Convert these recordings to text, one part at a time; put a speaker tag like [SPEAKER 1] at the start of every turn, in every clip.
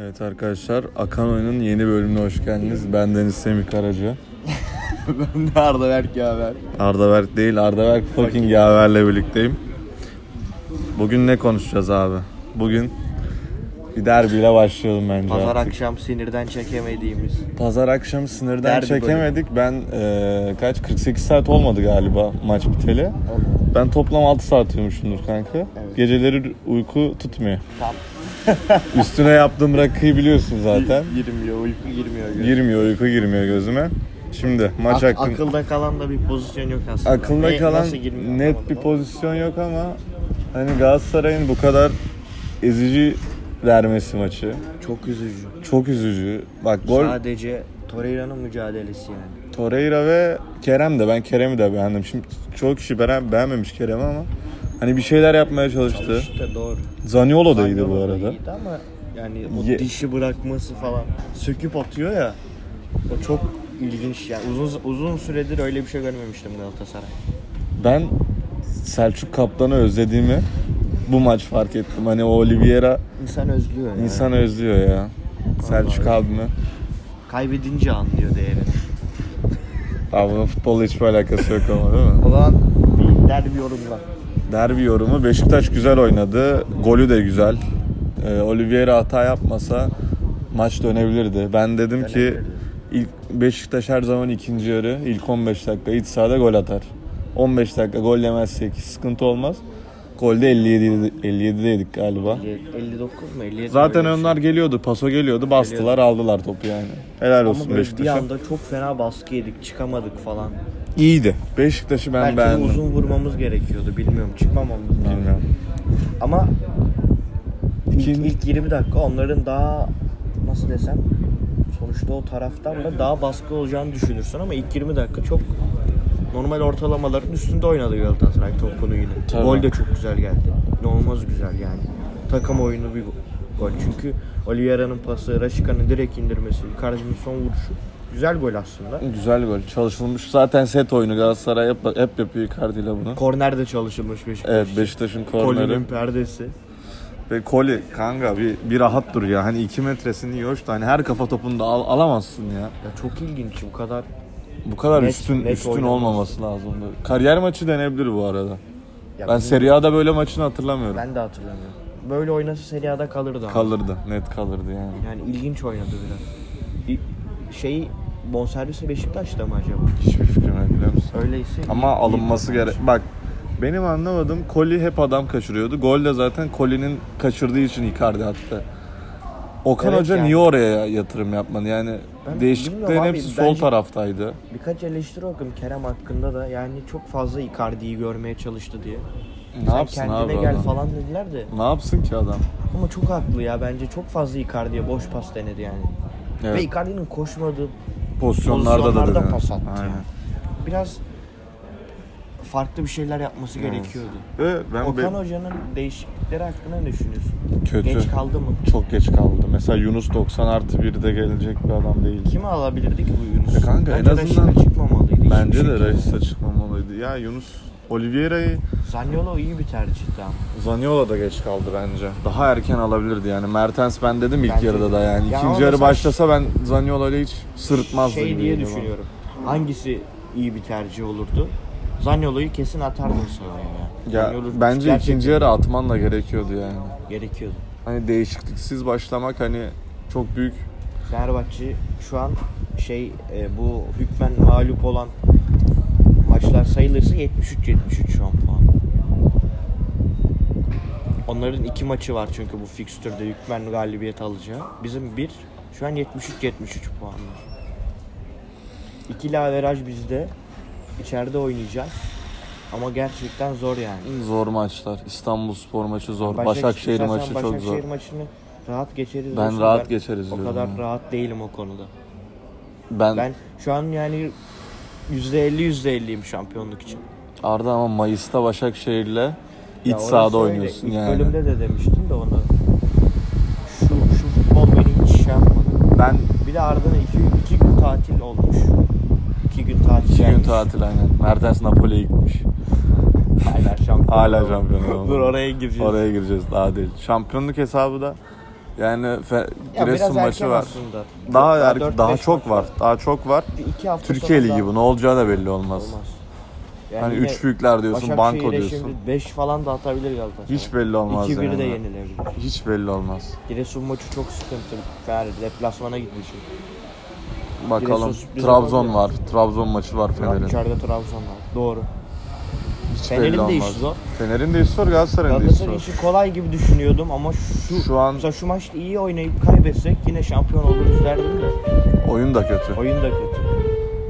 [SPEAKER 1] Evet arkadaşlar Akan Oyun'un yeni bölümüne hoş geldiniz. Ben Deniz Semih Karaca.
[SPEAKER 2] ben de Arda Berk Yaver.
[SPEAKER 1] Arda Berk değil Arda Berk fucking Yaver'le birlikteyim. Bugün ne konuşacağız abi? Bugün bir derbiyle başlayalım bence
[SPEAKER 2] Pazar
[SPEAKER 1] artık.
[SPEAKER 2] akşam sinirden çekemediğimiz.
[SPEAKER 1] Pazar akşamı sınırdan
[SPEAKER 2] Derbi
[SPEAKER 1] çekemedik. Ben e, kaç 48 saat olmadı galiba maç biteli. Ben toplam 6 saat uyumuşumdur kanka. Geceleri uyku tutmuyor.
[SPEAKER 2] Tam.
[SPEAKER 1] Üstüne yaptığım rakıyı biliyorsun zaten.
[SPEAKER 2] Girmiyor, uyku girmiyor. Gö-
[SPEAKER 1] Girmiyor uyku girmiyor gözüme. Şimdi maç
[SPEAKER 2] Ak-
[SPEAKER 1] hakkında
[SPEAKER 2] akılda kalan da bir pozisyon yok aslında.
[SPEAKER 1] akılda
[SPEAKER 2] Ne-
[SPEAKER 1] kalan
[SPEAKER 2] nasıl girmiyor
[SPEAKER 1] net
[SPEAKER 2] anlamadım
[SPEAKER 1] bir
[SPEAKER 2] ama.
[SPEAKER 1] pozisyon yok ama hani Galatasaray'ın bu kadar ezici vermesi maçı
[SPEAKER 2] Çok üzücü.
[SPEAKER 1] çok üzücü. Bak gol
[SPEAKER 2] Sadece Torreira'nın mücadelesi yani.
[SPEAKER 1] Torreira ve Kerem de ben Kerem'i de beğendim. Şimdi çok kişi beğen- beğenmemiş Kerem'i ama hani bir şeyler yapmaya çalıştı.
[SPEAKER 2] İşte doğru.
[SPEAKER 1] Zaniolo da iyiydi bu
[SPEAKER 2] Zaniolo da
[SPEAKER 1] arada.
[SPEAKER 2] iyiydi ama yani o
[SPEAKER 1] Ye-
[SPEAKER 2] dişi bırakması falan söküp atıyor ya. O çok ilginç yani. Uzun uzun süredir öyle bir şey görmemiştim Galatasaray.
[SPEAKER 1] Ben Selçuk Kaptan'ı özlediğimi bu maç fark ettim. Hani o Oliveira
[SPEAKER 2] İnsan özlüyor yani.
[SPEAKER 1] insan özlüyor ya. Selçuk abimi.
[SPEAKER 2] Kaybedince anlıyor değerini.
[SPEAKER 1] Abi bunun futbolla hiçbir alakası yok ama değil mi?
[SPEAKER 2] O zaman bir derbi yorumla.
[SPEAKER 1] Derbi yorumu Beşiktaş güzel oynadı. Golü de güzel. Ee, Oliveira hata yapmasa maç dönebilirdi. Ben dedim ki
[SPEAKER 2] Dönebilirdi.
[SPEAKER 1] ilk Beşiktaş her zaman ikinci yarı ilk 15 dakika iç sahada gol atar. 15 dakika gol yemezsek sıkıntı olmaz. Golde 57 57'deydik galiba.
[SPEAKER 2] 59 mu 57
[SPEAKER 1] Zaten
[SPEAKER 2] mi?
[SPEAKER 1] onlar geliyordu, paso şey. geliyordu, bastılar, aldılar topu yani. Helal
[SPEAKER 2] şey. Ama
[SPEAKER 1] olsun
[SPEAKER 2] böyle bir
[SPEAKER 1] Beşiktaş'a.
[SPEAKER 2] anda çok fena baskı yedik çıkamadık falan.
[SPEAKER 1] İyiydi. Beşiktaş'ı ben
[SPEAKER 2] Belki de
[SPEAKER 1] beğendim.
[SPEAKER 2] uzun vurmamız gerekiyordu bilmiyorum çıkmamamız lazım.
[SPEAKER 1] Bilmiyorum.
[SPEAKER 2] Ama ilk,
[SPEAKER 1] İkinci-
[SPEAKER 2] ilk 20 dakika onların daha nasıl desem sonuçta o taraftan da daha baskı olacağını düşünürsün ama ilk 20 dakika çok normal ortalamaların üstünde oynadı Galatasaray topunu yine.
[SPEAKER 1] Tabii.
[SPEAKER 2] Gol de çok güzel geldi. İnanılmaz güzel yani. Takım oyunu bir gol. Çünkü Oliveira'nın pası, Raşika'nın direkt indirmesi, Icardi'nin son vuruşu. Güzel gol aslında.
[SPEAKER 1] Güzel gol. Çalışılmış. Zaten set oyunu Galatasaray hep, hep yapıyor Icardi ile bunu.
[SPEAKER 2] Korner de çalışılmış Beşiktaş.
[SPEAKER 1] Evet Beşiktaş'ın korneri.
[SPEAKER 2] Kolinin perdesi.
[SPEAKER 1] Ve Koli kanka bir, bir rahat dur ya. Hani 2 metresini yoş da hani her kafa topunu da al- alamazsın ya.
[SPEAKER 2] Ya çok ilginç bu kadar.
[SPEAKER 1] Bu kadar
[SPEAKER 2] Net-
[SPEAKER 1] üstün
[SPEAKER 2] net
[SPEAKER 1] üstün
[SPEAKER 2] oynamaz.
[SPEAKER 1] olmaması lazımdı. Kariyer maçı denebilir bu arada.
[SPEAKER 2] Ya
[SPEAKER 1] Ben
[SPEAKER 2] bunu-
[SPEAKER 1] Serie A'da böyle maçını hatırlamıyorum.
[SPEAKER 2] Ben de hatırlamıyorum. Böyle oynasa Serie A'da kalırdı ama.
[SPEAKER 1] Kalırdı. Net kalırdı yani.
[SPEAKER 2] Yani ilginç oynadı biraz. İ- Şey bonservisi Beşiktaş'ta mı acaba?
[SPEAKER 1] Hiçbir fikrim yok biliyor musun?
[SPEAKER 2] Öyleyse.
[SPEAKER 1] Ama alınması gerek. Bak benim anlamadığım Koli hep adam kaçırıyordu. Gol de zaten Koli'nin kaçırdığı için Icardi attı. Okan
[SPEAKER 2] Evet
[SPEAKER 1] Hoca
[SPEAKER 2] yani.
[SPEAKER 1] niye oraya yatırım yapmadı? Yani
[SPEAKER 2] Ben
[SPEAKER 1] değişikliklerin
[SPEAKER 2] bilmiyorum abi,
[SPEAKER 1] hepsi sol
[SPEAKER 2] bence-
[SPEAKER 1] taraftaydı.
[SPEAKER 2] Birkaç eleştiri okudum Kerem hakkında da yani çok fazla Icardi'yi görmeye çalıştı diye.
[SPEAKER 1] Ne
[SPEAKER 2] Sen
[SPEAKER 1] yapsın
[SPEAKER 2] kendine
[SPEAKER 1] abi
[SPEAKER 2] gel
[SPEAKER 1] adam?
[SPEAKER 2] falan dediler de
[SPEAKER 1] Ne yapsın ki adam?
[SPEAKER 2] ama çok haklı ya bence çok fazla Icardi'ye boş pas denedi yani. Ve
[SPEAKER 1] Evet.
[SPEAKER 2] Icardi'nin koşmadığı
[SPEAKER 1] Pozisyonlarda,
[SPEAKER 2] pozisyonlarda
[SPEAKER 1] da dedi.
[SPEAKER 2] pas attı.
[SPEAKER 1] Aynen.
[SPEAKER 2] yani. Biraz farklı bir şeyler yapması gerekiyordu.
[SPEAKER 1] Ve ben
[SPEAKER 2] Okan
[SPEAKER 1] be-
[SPEAKER 2] Hoca'nın değişiklikleri hakkında ne düşünüyorsun?
[SPEAKER 1] Kötü.
[SPEAKER 2] Geç kaldı mı?
[SPEAKER 1] çok geç kaldı. Mesela Yunus 90 artı 1'de gelecek bir adam değil.
[SPEAKER 2] Kimi alabilirdi ki bu Yunus?
[SPEAKER 1] E kanka, en
[SPEAKER 2] Bence
[SPEAKER 1] azından-
[SPEAKER 2] Raşit'e çıkmamalıydı. hiçbir
[SPEAKER 1] Bence de
[SPEAKER 2] şekilde.
[SPEAKER 1] Reis'e çıkmamalıydı. Ya Yunus Oliveira'yı
[SPEAKER 2] Zaniolo iyi bir tercihti ama.
[SPEAKER 1] Zaniola da geç kaldı bence. Daha erken alabilirdi yani. Mertens ben dedim ilk
[SPEAKER 2] Bence
[SPEAKER 1] yarıda
[SPEAKER 2] de.
[SPEAKER 1] da yani.
[SPEAKER 2] Ya ama
[SPEAKER 1] İkinci yarı
[SPEAKER 2] mesela-
[SPEAKER 1] başlasa ben Zaniola ile hiç sırıtmazdı
[SPEAKER 2] Şey
[SPEAKER 1] gibi
[SPEAKER 2] diye
[SPEAKER 1] geliyor bana.
[SPEAKER 2] düşünüyorum. Hangisi iyi bir tercih olurdu? Zaniolo'yu kesin atardın sonra ya.
[SPEAKER 1] Ya
[SPEAKER 2] Zaniolo
[SPEAKER 1] bence
[SPEAKER 2] gerçekten
[SPEAKER 1] ikinci yarı atman da gerekiyordu yani.
[SPEAKER 2] gerekiyordu.
[SPEAKER 1] Hani değişikliksiz başlamak hani çok büyük.
[SPEAKER 2] Fenerbahçe şu an şey e, bu hükmen mağlup olan maçlar sayılırsa 73 73 şu an puan. Onların iki maçı var çünkü bu fikstürde hükmen galibiyet alacağı. Bizim bir şu an 73 73 puan var. İkili averaj bizde. İçeride oynayacağız. Ama gerçekten zor yani.
[SPEAKER 1] Zor maçlar. İstanbul Spor maçı zor.
[SPEAKER 2] Başak-
[SPEAKER 1] Başakşehir
[SPEAKER 2] istersen
[SPEAKER 1] maçı çok zor.
[SPEAKER 2] Başakşehir maçını rahat geçeriz.
[SPEAKER 1] Ben
[SPEAKER 2] diyorsun.
[SPEAKER 1] rahat geçeriz
[SPEAKER 2] O
[SPEAKER 1] diyorum
[SPEAKER 2] kadar
[SPEAKER 1] ya.
[SPEAKER 2] rahat değilim o konuda.
[SPEAKER 1] Ben,
[SPEAKER 2] Ben şu an yani %50 %50'yim şampiyonluk için.
[SPEAKER 1] Arda ama Mayıs'ta Başakşehir'le iç
[SPEAKER 2] Ya
[SPEAKER 1] sahada
[SPEAKER 2] orası öyle.
[SPEAKER 1] oynuyorsun
[SPEAKER 2] İlk
[SPEAKER 1] yani.
[SPEAKER 2] bölümde de demiştin de onu. Şu, şu futbol beni hiç şey yapmadı.
[SPEAKER 1] Ben
[SPEAKER 2] Bir de ardından iki, iki gün tatil olmuş. İki gün tatil
[SPEAKER 1] iki gün
[SPEAKER 2] gelmiş.
[SPEAKER 1] tatil aynen. Mertens Napoli'ye gitmiş.
[SPEAKER 2] Hala şampiyon.
[SPEAKER 1] Hala şampiyon olamadı.
[SPEAKER 2] Dur oraya gireceğiz.
[SPEAKER 1] Oraya gireceğiz daha değil. Şampiyonluk hesabı da Yani Fe-
[SPEAKER 2] Ya
[SPEAKER 1] Giresun
[SPEAKER 2] biraz
[SPEAKER 1] maçı
[SPEAKER 2] erken
[SPEAKER 1] var.
[SPEAKER 2] aslında.
[SPEAKER 1] Daha
[SPEAKER 2] Daha
[SPEAKER 1] er-
[SPEAKER 2] dört,
[SPEAKER 1] daha
[SPEAKER 2] beş
[SPEAKER 1] çok
[SPEAKER 2] maç
[SPEAKER 1] var.
[SPEAKER 2] var.
[SPEAKER 1] Daha çok var.
[SPEAKER 2] Bir iki hafta
[SPEAKER 1] Türkiye
[SPEAKER 2] sonra
[SPEAKER 1] Ligi
[SPEAKER 2] daha-
[SPEAKER 1] bu. Ne olacağı da belli olmaz.
[SPEAKER 2] Olmaz. Yani
[SPEAKER 1] Hani
[SPEAKER 2] yine
[SPEAKER 1] üç büyükler diyorsun, banko
[SPEAKER 2] Başakşehir'e
[SPEAKER 1] diyorsun.
[SPEAKER 2] Şimdi 5 falan da atabilir Galatasaray.
[SPEAKER 1] Hiç belli olmaz
[SPEAKER 2] 2-1
[SPEAKER 1] yani.
[SPEAKER 2] de yenilebilir.
[SPEAKER 1] Hiç belli olmaz.
[SPEAKER 2] Giresun maçı çok sıkıntı. Fener deplasmana gitmişim.
[SPEAKER 1] Bakalım.
[SPEAKER 2] sürpriz
[SPEAKER 1] Trabzon var.
[SPEAKER 2] yapabilir.
[SPEAKER 1] Trabzon maçı var Fener'in.
[SPEAKER 2] İçeride Trabzon var. Doğru.
[SPEAKER 1] Hiç
[SPEAKER 2] Fener'in
[SPEAKER 1] belli
[SPEAKER 2] de işi
[SPEAKER 1] olmaz.
[SPEAKER 2] zor.
[SPEAKER 1] Fener'in de işi zor, Galatasaray'ın da işi
[SPEAKER 2] Galatasaray
[SPEAKER 1] zor.
[SPEAKER 2] işi kolay gibi düşünüyordum ama şu,
[SPEAKER 1] Şu an-
[SPEAKER 2] mesela şu maçta iyi oynayıp kaybetsek yine şampiyon oluruz derdim de.
[SPEAKER 1] Oyun da kötü.
[SPEAKER 2] Oyun da kötü.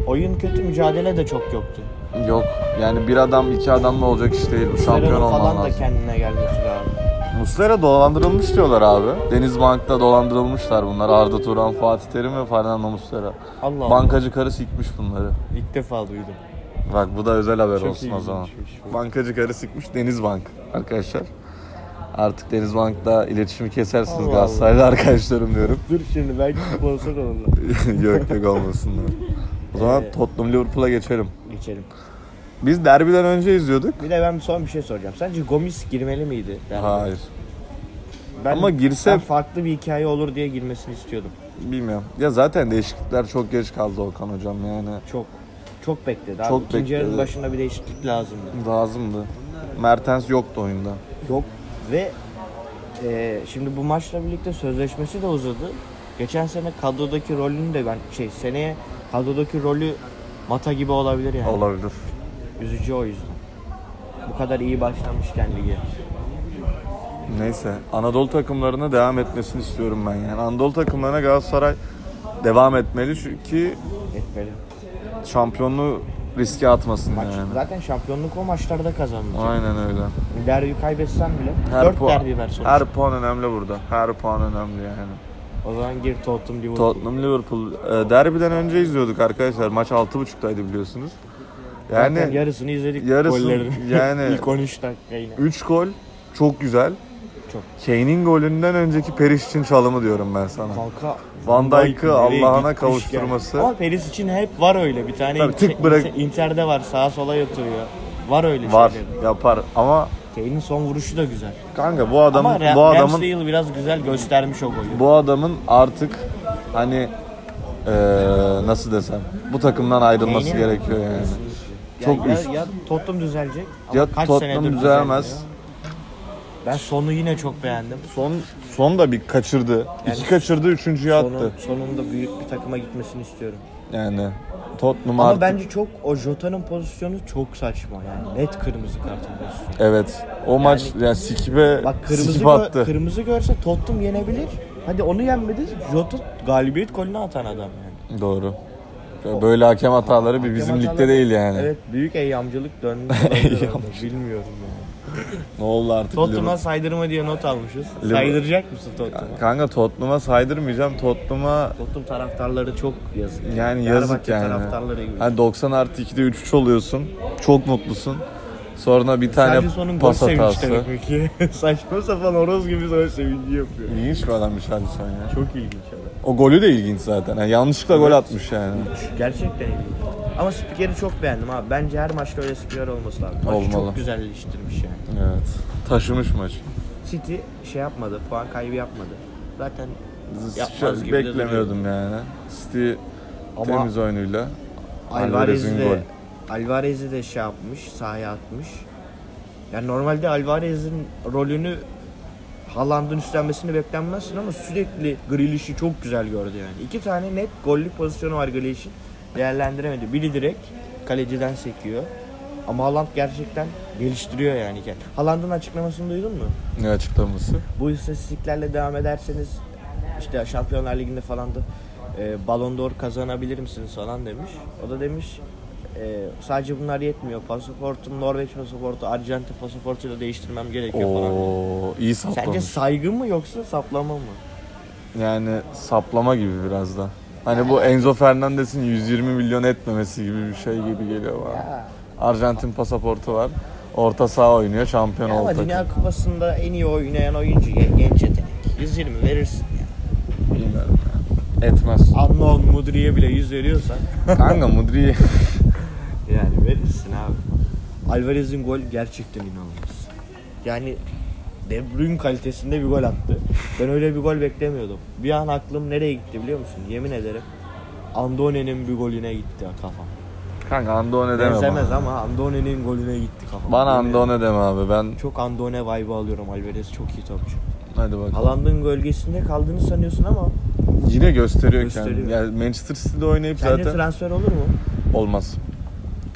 [SPEAKER 2] Oyun kötü, mücadele de çok yoktu.
[SPEAKER 1] Yok. Yani bir adam, iki adamla olacak iş değil. Bu şampiyon
[SPEAKER 2] Serrano
[SPEAKER 1] olman
[SPEAKER 2] falan da
[SPEAKER 1] lazım.
[SPEAKER 2] kendine gelmesi lazım.
[SPEAKER 1] Muslera dolandırılmış diyorlar abi. Denizbank'ta dolandırılmışlar bunlar. Arda Turan, Fatih Terim ve Fernando Muslera.
[SPEAKER 2] Allah Allah.
[SPEAKER 1] Bankacı karı sikmiş bunları.
[SPEAKER 2] İlk defa duydum.
[SPEAKER 1] Bak bu da özel haber
[SPEAKER 2] Çok şey.
[SPEAKER 1] olsun o zaman.
[SPEAKER 2] ilginçmiş.
[SPEAKER 1] Bankacı karı sikmiş Denizbank arkadaşlar. Artık Denizbank'la iletişimi kesersiniz
[SPEAKER 2] Allah Allah.
[SPEAKER 1] Galatasaraylı arkadaşlarım diyorum.
[SPEAKER 2] Dur şimdi belki sponsor olurlar.
[SPEAKER 1] yok yok olmasınlar. O zaman
[SPEAKER 2] Ee,
[SPEAKER 1] Tottenham Liverpool'a geçelim.
[SPEAKER 2] Geçelim.
[SPEAKER 1] Biz derbiden önce izliyorduk.
[SPEAKER 2] Bir de ben son bir şey soracağım. Sence Gomis girmeli miydi? Yani
[SPEAKER 1] Hayır.
[SPEAKER 2] ben,
[SPEAKER 1] Ama girse-
[SPEAKER 2] ben farklı bir hikaye olur diye girmesini istiyordum.
[SPEAKER 1] Bilmiyorum. Ya zaten değişiklikler çok geç kaldı Okan hocam yani.
[SPEAKER 2] Çok çok bekledi. Abi.
[SPEAKER 1] Çok
[SPEAKER 2] İkinci yarının
[SPEAKER 1] bekledi.
[SPEAKER 2] başında bir değişiklik lazımdı.
[SPEAKER 1] Lazımdı. Mertens yoktu oyunda.
[SPEAKER 2] Yok ve e, şimdi bu maçla birlikte sözleşmesi de uzadı. Geçen sene kadrodaki rolünü de ben şey seneye kadrodaki rolü Mata gibi olabilir yani.
[SPEAKER 1] Olabilir.
[SPEAKER 2] Üzücü o yüzden. Bu kadar iyi başlamışken lige.
[SPEAKER 1] Neyse Anadolu takımlarına devam etmesini istiyorum ben yani. Anadolu takımlarına Galatasaray devam etmeli çünkü
[SPEAKER 2] Etmeli.
[SPEAKER 1] şampiyonluğu riske atmasın
[SPEAKER 2] Maç,
[SPEAKER 1] yani.
[SPEAKER 2] Zaten şampiyonluk o maçlarda kazanılacak.
[SPEAKER 1] Aynen öyle.
[SPEAKER 2] Derbi kaybetsen bile
[SPEAKER 1] Her
[SPEAKER 2] 4
[SPEAKER 1] puan-
[SPEAKER 2] derbi ver sonuçta.
[SPEAKER 1] Her puan önemli burada. Her puan önemli yani.
[SPEAKER 2] O zaman gir Tottenham Liverpool.
[SPEAKER 1] Tottenham Liverpool e, derbiden önce izliyorduk arkadaşlar. Maç 6.30'daydı biliyorsunuz.
[SPEAKER 2] Zaten
[SPEAKER 1] Yani
[SPEAKER 2] yarısını izledik
[SPEAKER 1] yarısı-
[SPEAKER 2] gollerini.
[SPEAKER 1] yani-
[SPEAKER 2] İlk 13 dakika yine.
[SPEAKER 1] 3 gol çok güzel.
[SPEAKER 2] Çok.
[SPEAKER 1] Kane'in golünden önceki Periş'in çalımı diyorum ben sana.
[SPEAKER 2] Kanka
[SPEAKER 1] Van Dijk'ı
[SPEAKER 2] nereye
[SPEAKER 1] Allah'ına
[SPEAKER 2] gitmiş
[SPEAKER 1] kavuşturması.
[SPEAKER 2] ya. Ama Peris için hep var öyle bir tane.
[SPEAKER 1] Tabii, tık bırak-
[SPEAKER 2] Inter'de var sağa sola yatırıyor. Var öyle
[SPEAKER 1] Var,
[SPEAKER 2] şeyler.
[SPEAKER 1] yapar ama
[SPEAKER 2] Kane'in son vuruşu da güzel.
[SPEAKER 1] kanka bu adamın
[SPEAKER 2] Ama Ra-
[SPEAKER 1] bu adamın
[SPEAKER 2] Ramsdale biraz güzel göstermiş o golü.
[SPEAKER 1] bu adamın artık hani eee, nasıl desem bu takımdan ayrılması
[SPEAKER 2] Kane'in-
[SPEAKER 1] gerekiyor yani.
[SPEAKER 2] Yani
[SPEAKER 1] çok
[SPEAKER 2] ya,
[SPEAKER 1] üst.
[SPEAKER 2] ya Tottenham düzelecek. ama
[SPEAKER 1] Ya
[SPEAKER 2] kaç
[SPEAKER 1] Tottenham
[SPEAKER 2] senedir
[SPEAKER 1] düzelmez.
[SPEAKER 2] düzelmiyor. Ben sonu yine çok beğendim.
[SPEAKER 1] Son son da bir kaçırdı. İki kaçırdı, üçüncüyü
[SPEAKER 2] Sonu,
[SPEAKER 1] attı.
[SPEAKER 2] sonunda büyük bir takıma gitmesini istiyorum.
[SPEAKER 1] Yani Tottenham
[SPEAKER 2] Ama
[SPEAKER 1] artık
[SPEAKER 2] bence çok o Jota'nın pozisyonu çok saçma yani. Net kırmızı kartın pozisyonu.
[SPEAKER 1] evet. O maç yani sikibe
[SPEAKER 2] Bak kırmızı
[SPEAKER 1] sikip
[SPEAKER 2] gö-
[SPEAKER 1] attı.
[SPEAKER 2] kırmızı görse Tottenham yenebilir. Hadi onu yenmedi. Jota galibiyet golünü atan adam yani.
[SPEAKER 1] Doğru. Ya Böyle hakem hataları bir bizim
[SPEAKER 2] Hakem
[SPEAKER 1] ligde
[SPEAKER 2] hataları-
[SPEAKER 1] değil yani.
[SPEAKER 2] Evet büyük eyyamcılık döndü. olabilir orada. Bilmiyorum yani.
[SPEAKER 1] Ne oldu artık?
[SPEAKER 2] Tottenham'a saydırma diye not almışız.
[SPEAKER 1] Liverpool-
[SPEAKER 2] Saydıracak mısın Tottenham'a?
[SPEAKER 1] Liverpool. Kanka Tottenham'a saydırmayacağım. Tottenham'a
[SPEAKER 2] Tottenham taraftarları çok yazık.
[SPEAKER 1] yani yazık
[SPEAKER 2] Fenerbahçe
[SPEAKER 1] yani.
[SPEAKER 2] taraftarları gibi.
[SPEAKER 1] Hani 90 artı 2'de 3 oluyorsun. Çok mutlusun. Sonra bir tane
[SPEAKER 2] Sadece sonun gol
[SPEAKER 1] pas hatası.
[SPEAKER 2] sevinçleri peki. Saçma sapan horoz gibi gol sevinci yapıyor.
[SPEAKER 1] İlginç bir adammış Alisson ya.
[SPEAKER 2] Çok ilginç adam.
[SPEAKER 1] O golü de ilginç zaten. Yani yanlışlıkla gol atmış yani.
[SPEAKER 2] Gerçekten ilginç. Ama spikeri çok beğendim abi. Bence her maçta öyle spiker olması lazım. Maçı
[SPEAKER 1] Olmalı.
[SPEAKER 2] çok güzelleştirmiş yani.
[SPEAKER 1] Evet. Taşımış maç.
[SPEAKER 2] City şey yapmadı, puan kaybı yapmadı. Zaten Yapmaz
[SPEAKER 1] Yapmaz
[SPEAKER 2] gibi de
[SPEAKER 1] şey, beklemiyordum yani. City
[SPEAKER 2] Ama-
[SPEAKER 1] temiz oyunuyla
[SPEAKER 2] Alvarez'i
[SPEAKER 1] Alvarez'in gol.
[SPEAKER 2] de, Alvarez'i de şey yapmış, sahaya atmış. Yani normalde Alvarez'in rolünü Haaland'ın üstlenmesini beklenmezsin ama sürekli Grealish'i çok güzel gördü yani. İki tane net gollük pozisyonu var Grealish'in. Değerlendiremedi. Biri direkt kaleciden sekiyor. Ama Haaland gerçekten geliştiriyor yani. Haaland'ın açıklamasını duydun mu?
[SPEAKER 1] ne açıklaması.
[SPEAKER 2] bu istatistiklerle devam ederseniz işte Şampiyonlar Ligi'nde falan da e, Ballon d'Or kazanabilir misiniz falan demiş. O da demiş e, sadece bunlar yetmiyor. Pasaportum Norveç pasaportu, Arjantin pasaportuyla değiştirmem gerekiyor falan.
[SPEAKER 1] Oo, iyi
[SPEAKER 2] Sence
[SPEAKER 1] saplamış.
[SPEAKER 2] saygı mı yoksa saplama mı?
[SPEAKER 1] yani saplama gibi biraz da. Hani bu Enzo Fernandez'in 120 milyon etmemesi gibi bir şey gibi geliyor bana.
[SPEAKER 2] Ya.
[SPEAKER 1] Arjantin pasaportu var. Orta saha oynuyor, şampiyon
[SPEAKER 2] Ya
[SPEAKER 1] oldu.
[SPEAKER 2] ama
[SPEAKER 1] takım.
[SPEAKER 2] Dünya Kupası'nda en iyi oynayan oyuncu gen- genç yetenek. 120 verirsin ya.
[SPEAKER 1] Bilmiyorum ya. Etmez.
[SPEAKER 2] Unknown Mudri'ye bile 100 veriyorsan
[SPEAKER 1] Kanka Mudri
[SPEAKER 2] Yani verirsin abi. Alvarez'in gol gerçekten inanılmaz. Yani De Bruyne kalitesinde bir gol attı. Ben öyle bir gol beklemiyordum. Bir an aklım nereye gitti biliyor musun? Yemin ederim. Andone'nin bir golüne gitti kafam.
[SPEAKER 1] Kanka Andone deme
[SPEAKER 2] Benzemez
[SPEAKER 1] bana.
[SPEAKER 2] ama Andone'nin golüne gitti kafam.
[SPEAKER 1] Bana
[SPEAKER 2] Yemin ederim.
[SPEAKER 1] Andone deme abi ben.
[SPEAKER 2] Çok Andone vibe'ı alıyorum Alvarez. Çok iyi topçu.
[SPEAKER 1] Hadi bakalım.
[SPEAKER 2] Haaland'ın gölgesinde kaldığını sanıyorsun ama
[SPEAKER 1] Yine gösteriyor,
[SPEAKER 2] Gösteriyor.
[SPEAKER 1] kendini. Yani Manchester City'de oynayıp
[SPEAKER 2] kendi
[SPEAKER 1] zaten
[SPEAKER 2] transfer olur mu?
[SPEAKER 1] olmaz.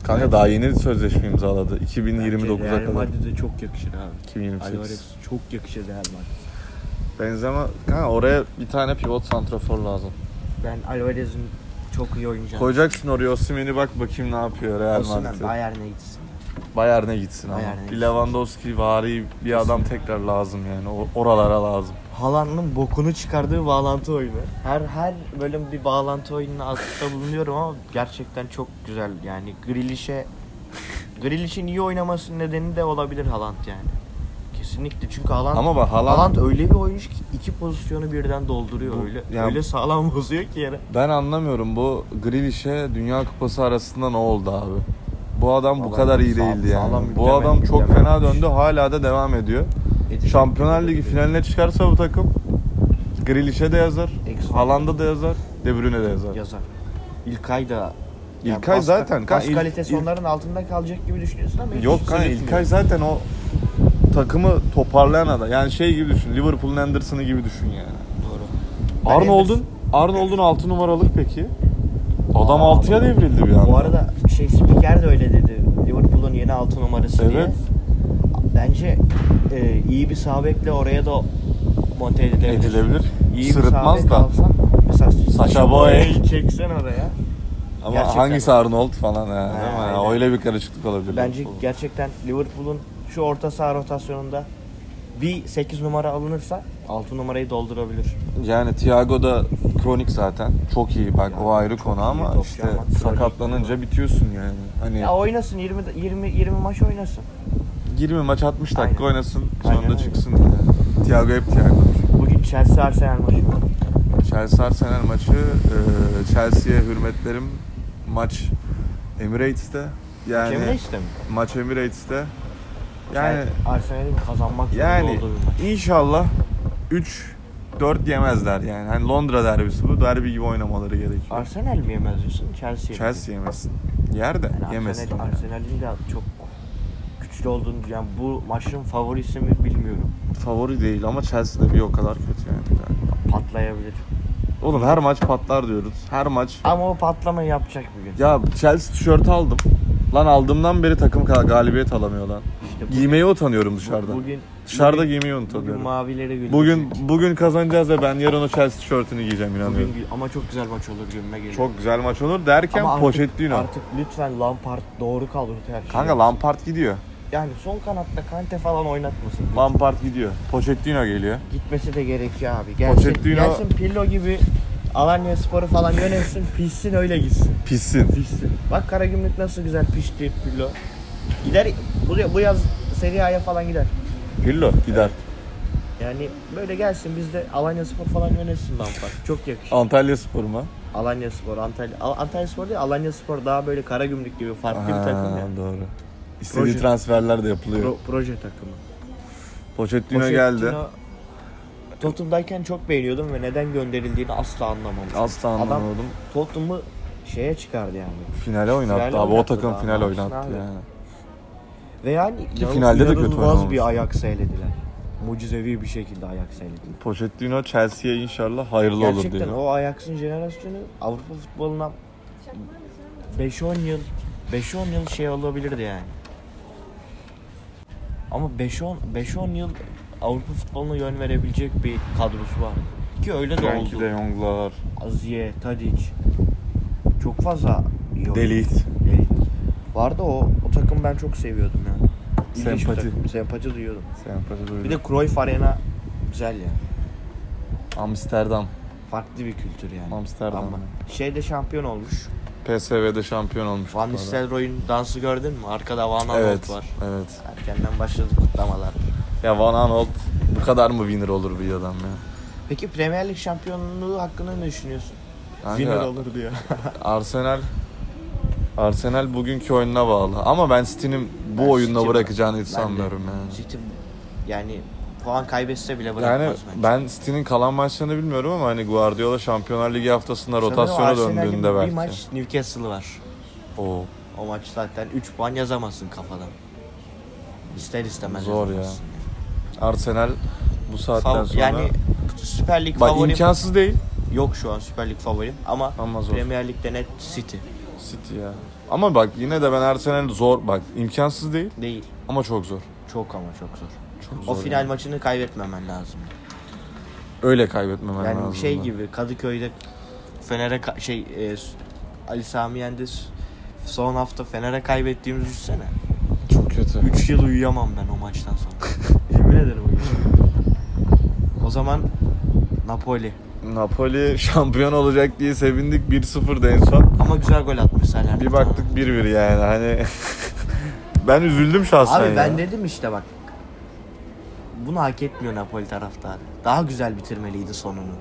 [SPEAKER 1] Kanka daha yeni sözleşme imzaladı. 2029'a
[SPEAKER 2] Real
[SPEAKER 1] kadar.
[SPEAKER 2] Madrid'e çok yakışır abi.
[SPEAKER 1] 2028.
[SPEAKER 2] Alvarez çok yakışır Real Madrid.
[SPEAKER 1] Benzema kanka oraya bir tane pivot santrafor lazım.
[SPEAKER 2] Ben Alvarez'in çok iyi oynayacağını
[SPEAKER 1] Koyacaksın oraya Osimhen'i bak bakayım ne yapıyor Real
[SPEAKER 2] Osman
[SPEAKER 1] Madrid'e.
[SPEAKER 2] Bayern'e gitsin.
[SPEAKER 1] Bayern'e gitsin ama.
[SPEAKER 2] Bayern'e
[SPEAKER 1] Bir
[SPEAKER 2] gitsin.
[SPEAKER 1] Lewandowski vari bir adam tekrar lazım yani. O- Oralara lazım.
[SPEAKER 2] Haaland'ın bokunu çıkardığı bağlantı oyunu. Her her bölüm bir bağlantı oyununa atıfta bulunuyorum ama gerçekten çok güzel yani Grealish'e Grealish'in iyi oynamasının nedeni de olabilir Haaland yani. Kesinlikle çünkü Haaland
[SPEAKER 1] Ama bak Haaland-
[SPEAKER 2] Haaland öyle bir oyuncu ki iki pozisyonu birden dolduruyor
[SPEAKER 1] Bu-
[SPEAKER 2] öyle.
[SPEAKER 1] ya-
[SPEAKER 2] Öyle sağlam bozuyor ki yere.
[SPEAKER 1] Ben anlamıyorum bu Grealish'e Dünya Kupası arasında ne oldu abi? Bu adam bu
[SPEAKER 2] Adam
[SPEAKER 1] kadar iyi
[SPEAKER 2] sağ-
[SPEAKER 1] değildi
[SPEAKER 2] sağlam
[SPEAKER 1] yani. Bu
[SPEAKER 2] yüklemen-
[SPEAKER 1] adam çok
[SPEAKER 2] yüklemen
[SPEAKER 1] fena
[SPEAKER 2] yapmış.
[SPEAKER 1] döndü hala da devam ediyor.
[SPEAKER 2] Edecek
[SPEAKER 1] Şampiyonlar
[SPEAKER 2] gibi
[SPEAKER 1] Ligi
[SPEAKER 2] duruyor.
[SPEAKER 1] finaline çıkarsa bu takım Grealish'e de yazar,
[SPEAKER 2] Ex-
[SPEAKER 1] Haaland'a da yazar, De Bruyne de yazar.
[SPEAKER 2] yazar. İlkay da
[SPEAKER 1] İlkay
[SPEAKER 2] pas-
[SPEAKER 1] zaten kan-
[SPEAKER 2] pas
[SPEAKER 1] İl-
[SPEAKER 2] kalitesi
[SPEAKER 1] İl-
[SPEAKER 2] onların altında kalacak gibi düşünüyorsun ama hiç
[SPEAKER 1] Yok kanka
[SPEAKER 2] hissetmiyorum.
[SPEAKER 1] İlkay zaten o takımı toparlayan adam. Yani şey gibi düşün. Liverpool'un Anderson'ı gibi düşün yani.
[SPEAKER 2] Doğru. Ben
[SPEAKER 1] Arnold'un Arnold'un 6 numaralık peki. Adam
[SPEAKER 2] Aa,
[SPEAKER 1] 6'ya devrildi bir anda.
[SPEAKER 2] Bu arada şey spiker de öyle dedi. Liverpool'un yeni altı numarası diye.
[SPEAKER 1] Evet.
[SPEAKER 2] Bence e, iyi bir sağ bekle oraya da monte edilebilir.
[SPEAKER 1] Edilebilir.
[SPEAKER 2] İyi bir
[SPEAKER 1] Sırıtmaz
[SPEAKER 2] sağ bek
[SPEAKER 1] da.
[SPEAKER 2] alsan, Mesela
[SPEAKER 1] Sacha
[SPEAKER 2] Boey'i
[SPEAKER 1] Boey.
[SPEAKER 2] çeksen oraya.
[SPEAKER 1] ama
[SPEAKER 2] gerçekten.
[SPEAKER 1] hangisi Arnold falan ha,
[SPEAKER 2] Ha,
[SPEAKER 1] değil mi?
[SPEAKER 2] aynen.
[SPEAKER 1] Öyle bir karışıklık olabilir.
[SPEAKER 2] Bence
[SPEAKER 1] Liverpool'un.
[SPEAKER 2] gerçekten Liverpool'un şu orta saha rotasyonunda bir 8 numara alınırsa 6 numarayı doldurabilir.
[SPEAKER 1] yani Thiago da kronik zaten. Çok iyi bak
[SPEAKER 2] Ya,
[SPEAKER 1] o ayrı
[SPEAKER 2] çok
[SPEAKER 1] konu
[SPEAKER 2] iyi
[SPEAKER 1] ama
[SPEAKER 2] topçu
[SPEAKER 1] işte
[SPEAKER 2] ama kronik.
[SPEAKER 1] sakatlanınca bitiyorsun yani. Hani
[SPEAKER 2] Ya oynasın 20 20 20 maç oynasın.
[SPEAKER 1] 20 maç 60 dakika
[SPEAKER 2] Aynen.
[SPEAKER 1] oynasın
[SPEAKER 2] Aynen
[SPEAKER 1] sonra
[SPEAKER 2] öyle.
[SPEAKER 1] çıksın yani. Thiago hep Thiago.
[SPEAKER 2] Bugün Chelsea Arsenal maçı var.
[SPEAKER 1] Chelsea Arsenal maçı e, Chelsea'ye hürmetlerim maç Emirates'te yani
[SPEAKER 2] Cemre işte mi?
[SPEAKER 1] maç Emirates'te yani
[SPEAKER 2] Arsenal'in kazanmak zorunda
[SPEAKER 1] yani
[SPEAKER 2] olduğu bir maç.
[SPEAKER 1] inşallah 3 4 yemezler yani. Hani Londra derbisi bu. Derbi gibi oynamaları gerekiyor.
[SPEAKER 2] Arsenal mi yemez diyorsun? Chelsea mi?
[SPEAKER 1] Chelsea yemesin. Yer de
[SPEAKER 2] Yani
[SPEAKER 1] yemesin.
[SPEAKER 2] Arsenal, Arsenal'in de çok güçlü olduğunu yani bu maçın favorisi mi bilmiyorum.
[SPEAKER 1] Favori değil ama Chelsea de bir o kadar kötü yani. Yani
[SPEAKER 2] Patlayabilir.
[SPEAKER 1] Oğlum her maç patlar diyoruz. Her maç.
[SPEAKER 2] Ama o patlamayı yapacak bugün.
[SPEAKER 1] Ya Chelsea tişörtü aldım. Lan aldığımdan beri takım kadar galibiyet alamıyor lan.
[SPEAKER 2] İşte bu-
[SPEAKER 1] Giymeye utanıyorum dışarıda.
[SPEAKER 2] Bugün
[SPEAKER 1] Dışarıda
[SPEAKER 2] bugün-
[SPEAKER 1] giymeyi
[SPEAKER 2] Bugün
[SPEAKER 1] unutamıyorum.
[SPEAKER 2] mavileri güldü.
[SPEAKER 1] Bugün bugün kazanacağız ve ben yarın o Chelsea tişörtünü giyeceğim
[SPEAKER 2] bugün
[SPEAKER 1] inanıyorum.
[SPEAKER 2] gül- ama çok güzel maç olur gönlüme geliyor.
[SPEAKER 1] Çok güzel maç olur derken
[SPEAKER 2] Ama artık-
[SPEAKER 1] Pochettino.
[SPEAKER 2] Artık lütfen Lampard doğru kaldır her şeyi.
[SPEAKER 1] Kanka Lampard gidiyor.
[SPEAKER 2] Yani sol kanatta Kante falan oynatmasın.
[SPEAKER 1] Lampard gidiyor. Pochettino geliyor.
[SPEAKER 2] Gitmesi de gerekiyor abi. Gelsin,
[SPEAKER 1] Pochettino-
[SPEAKER 2] gelsin Pirlo gibi Alanya Sporu falan yönetsin, pişsin öyle gitsin.
[SPEAKER 1] Pissin.
[SPEAKER 2] Pişsin. Bak Karagümrük nasıl güzel pişti Pirlo. Gider bu, bu yaz Serie A'ya falan gider.
[SPEAKER 1] Pirlo gider.
[SPEAKER 2] Yani böyle gelsin biz de Alanya Spor falan yönetsin Lampard. Çok yakışır.
[SPEAKER 1] Antalya Spor mu?
[SPEAKER 2] Alanya Spor, Antalya, Al- Antalya Spor değil Alanya Spor daha böyle Karagümrük gibi farklı bir takım ya.
[SPEAKER 1] Ha, doğru. İstediği
[SPEAKER 2] Proje.
[SPEAKER 1] transferler de yapılıyor.
[SPEAKER 2] Pro- proje takımı.
[SPEAKER 1] Pochettino, geldi.
[SPEAKER 2] Pochettino, Tottenham'dayken çok beğeniyordum ve neden gönderildiğini asla anlamamıştım.
[SPEAKER 1] Asla
[SPEAKER 2] Adam-
[SPEAKER 1] anlamadım.
[SPEAKER 2] Tottenham'ı şeye çıkardı yani.
[SPEAKER 1] Finale oynattı
[SPEAKER 2] Finale
[SPEAKER 1] abi. O
[SPEAKER 2] oynattı
[SPEAKER 1] takım
[SPEAKER 2] daha,
[SPEAKER 1] final
[SPEAKER 2] ne
[SPEAKER 1] oynattı
[SPEAKER 2] yapsın abi?
[SPEAKER 1] yani.
[SPEAKER 2] Ve yani inan-
[SPEAKER 1] finalde de kötü
[SPEAKER 2] inanılmaz
[SPEAKER 1] oynamamış.
[SPEAKER 2] bir ayak seylediler. Mucizevi bir şekilde ayak seylediler.
[SPEAKER 1] Pochettino Chelsea'ye inşallah hayırlı olur
[SPEAKER 2] Gerçekten
[SPEAKER 1] diyor.
[SPEAKER 2] o Ajax'ın jenerasyonu Avrupa futboluna 5-10 yıl 5-10 yıl şey olabilirdi yani. Ama 5-10 5-10 yıl Avrupa futboluna yön verebilecek bir kadrosu var. Ki öyle de
[SPEAKER 1] Frankie
[SPEAKER 2] oldu.
[SPEAKER 1] de Jong'lar.
[SPEAKER 2] Aziye, Tadic. Çok fazla iyi oyuncu.
[SPEAKER 1] Delit.
[SPEAKER 2] Delit. Vardı o o takım ben çok seviyordum ya. İlginç bir
[SPEAKER 1] Sempati.
[SPEAKER 2] takım, Sempati duyuyordum.
[SPEAKER 1] Sempati duydum.
[SPEAKER 2] Bir de Cruyff Arena güzel ya.
[SPEAKER 1] Amsterdam.
[SPEAKER 2] Farklı bir kültür yani.
[SPEAKER 1] Amsterdam.
[SPEAKER 2] Ama şeyde şampiyon olmuş.
[SPEAKER 1] PSV'de şampiyon olmuş.
[SPEAKER 2] Van
[SPEAKER 1] bu arada.
[SPEAKER 2] Nistelrooy'un dansı gördün mü? Arkada Van Aanholt
[SPEAKER 1] Evet.
[SPEAKER 2] var.
[SPEAKER 1] Evet.
[SPEAKER 2] Erkenden başladı kutlamalar.
[SPEAKER 1] Ya Van Aanholt bu kadar mı winner olur bir adam ya?
[SPEAKER 2] Peki Premier Lig şampiyonluğu hakkında ne düşünüyorsun?
[SPEAKER 1] Kanka,
[SPEAKER 2] olur diyor.
[SPEAKER 1] Arsenal Arsenal bugünkü oyununa bağlı. Ama ben City'nin bu
[SPEAKER 2] Ben
[SPEAKER 1] oyunla
[SPEAKER 2] City'm-
[SPEAKER 1] bırakacağını hiç
[SPEAKER 2] ben de.
[SPEAKER 1] sanmıyorum yani.
[SPEAKER 2] City yani puan kaybetse bile bırakmaz
[SPEAKER 1] Yani
[SPEAKER 2] bence.
[SPEAKER 1] ben City'nin kalan maçlarını bilmiyorum ama hani Guardiola Şampiyonlar Ligi haftasında
[SPEAKER 2] Sanırım
[SPEAKER 1] rotasyona
[SPEAKER 2] Arsenal'in
[SPEAKER 1] döndüğünde belki.
[SPEAKER 2] Bir maç Newcastle var.
[SPEAKER 1] Oo,
[SPEAKER 2] O maç zaten 3 puan yazamazsın kafadan. İster istemez
[SPEAKER 1] Zor ya.
[SPEAKER 2] yazamazsın.
[SPEAKER 1] Arsenal bu saatten
[SPEAKER 2] Fav-
[SPEAKER 1] sonra
[SPEAKER 2] Yani Süper Lig
[SPEAKER 1] bak
[SPEAKER 2] favorim
[SPEAKER 1] imkansız değil
[SPEAKER 2] yok şu an Süper Lig favorim ama,
[SPEAKER 1] ama zor.
[SPEAKER 2] Premier Lig'de net City
[SPEAKER 1] City ya. Ama bak yine de ben Arsenal zor bak imkansız değil
[SPEAKER 2] değil.
[SPEAKER 1] ama çok zor.
[SPEAKER 2] Çok ama çok zor.
[SPEAKER 1] Çok
[SPEAKER 2] o
[SPEAKER 1] zor
[SPEAKER 2] final
[SPEAKER 1] yani.
[SPEAKER 2] maçını kaybetmemen lazım.
[SPEAKER 1] Öyle kaybetmemen
[SPEAKER 2] Yani
[SPEAKER 1] lazım.
[SPEAKER 2] şey
[SPEAKER 1] da.
[SPEAKER 2] gibi Kadıköy'de Fener'e ka- şey e, s- Ali Sami Yendiz son hafta Fener'e kaybettiğimiz düşsene.
[SPEAKER 1] Çok kötü.
[SPEAKER 2] 3 yıl uyuyamam ben o maçtan sonra. Yemin ederim uyuyamam. O zaman Napoli.
[SPEAKER 1] Napoli şampiyon olacak diye sevindik 1-0'da en son.
[SPEAKER 2] Ama güzel gol atmış Salernitana.
[SPEAKER 1] Bir baktık 1-1 yani hani. ben üzüldüm şahsen
[SPEAKER 2] Abi
[SPEAKER 1] ya.
[SPEAKER 2] ben dedim işte bak. Bunu hak etmiyor Napoli taraftarı. Daha güzel bitirmeliydi sonunu.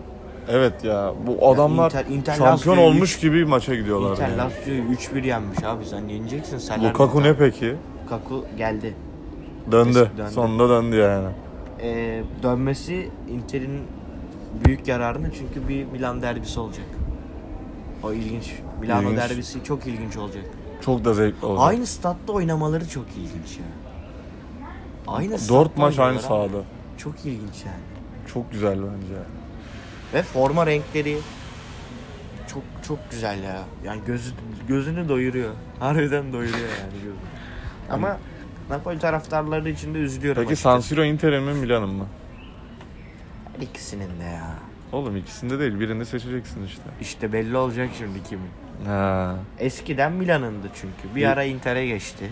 [SPEAKER 1] Evet ya bu adamlar
[SPEAKER 2] Inter- Inter
[SPEAKER 1] şampiyon
[SPEAKER 2] Lazio'yu
[SPEAKER 1] olmuş gibi maça gidiyorlar.
[SPEAKER 2] Inter
[SPEAKER 1] yani.
[SPEAKER 2] Lazio'yu 3-1 yenmiş abi sen yeneceksin Salernitana.
[SPEAKER 1] Lukaku ne peki?
[SPEAKER 2] Lukaku geldi.
[SPEAKER 1] Döndü.
[SPEAKER 2] Döndü.
[SPEAKER 1] Sonunda döndü yani.
[SPEAKER 2] Ee, dönmesi Inter'in büyük yararını çünkü bir Milan derbisi olacak. O ilginç. Milano
[SPEAKER 1] İlginç.
[SPEAKER 2] derbisi çok ilginç olacak.
[SPEAKER 1] Çok da zevkli oldu.
[SPEAKER 2] Aynı statta oynamaları çok ilginç ya. Aynı
[SPEAKER 1] Dört
[SPEAKER 2] statta
[SPEAKER 1] maç aynı
[SPEAKER 2] oynuyorlar abi.
[SPEAKER 1] sahada.
[SPEAKER 2] Çok ilginç yani.
[SPEAKER 1] Çok güzel bence.
[SPEAKER 2] Ve forma renkleri çok çok güzel ya. Yani gözü, gözünü doyuruyor. Harbiden doyuruyor yani gözünü. Ama Napoli taraftarları için de üzülüyorum.
[SPEAKER 1] Peki San
[SPEAKER 2] açıkçası.
[SPEAKER 1] Siro Inter'in mi Milan'ın mı?
[SPEAKER 2] İkisinin de ya.
[SPEAKER 1] Oğlum ikisinde değil birini seçeceksin işte.
[SPEAKER 2] İşte belli olacak şimdi kimin.
[SPEAKER 1] Ha.
[SPEAKER 2] Eskiden Milan'ındı çünkü. Bir
[SPEAKER 1] Bir-
[SPEAKER 2] ara Inter'e geçti.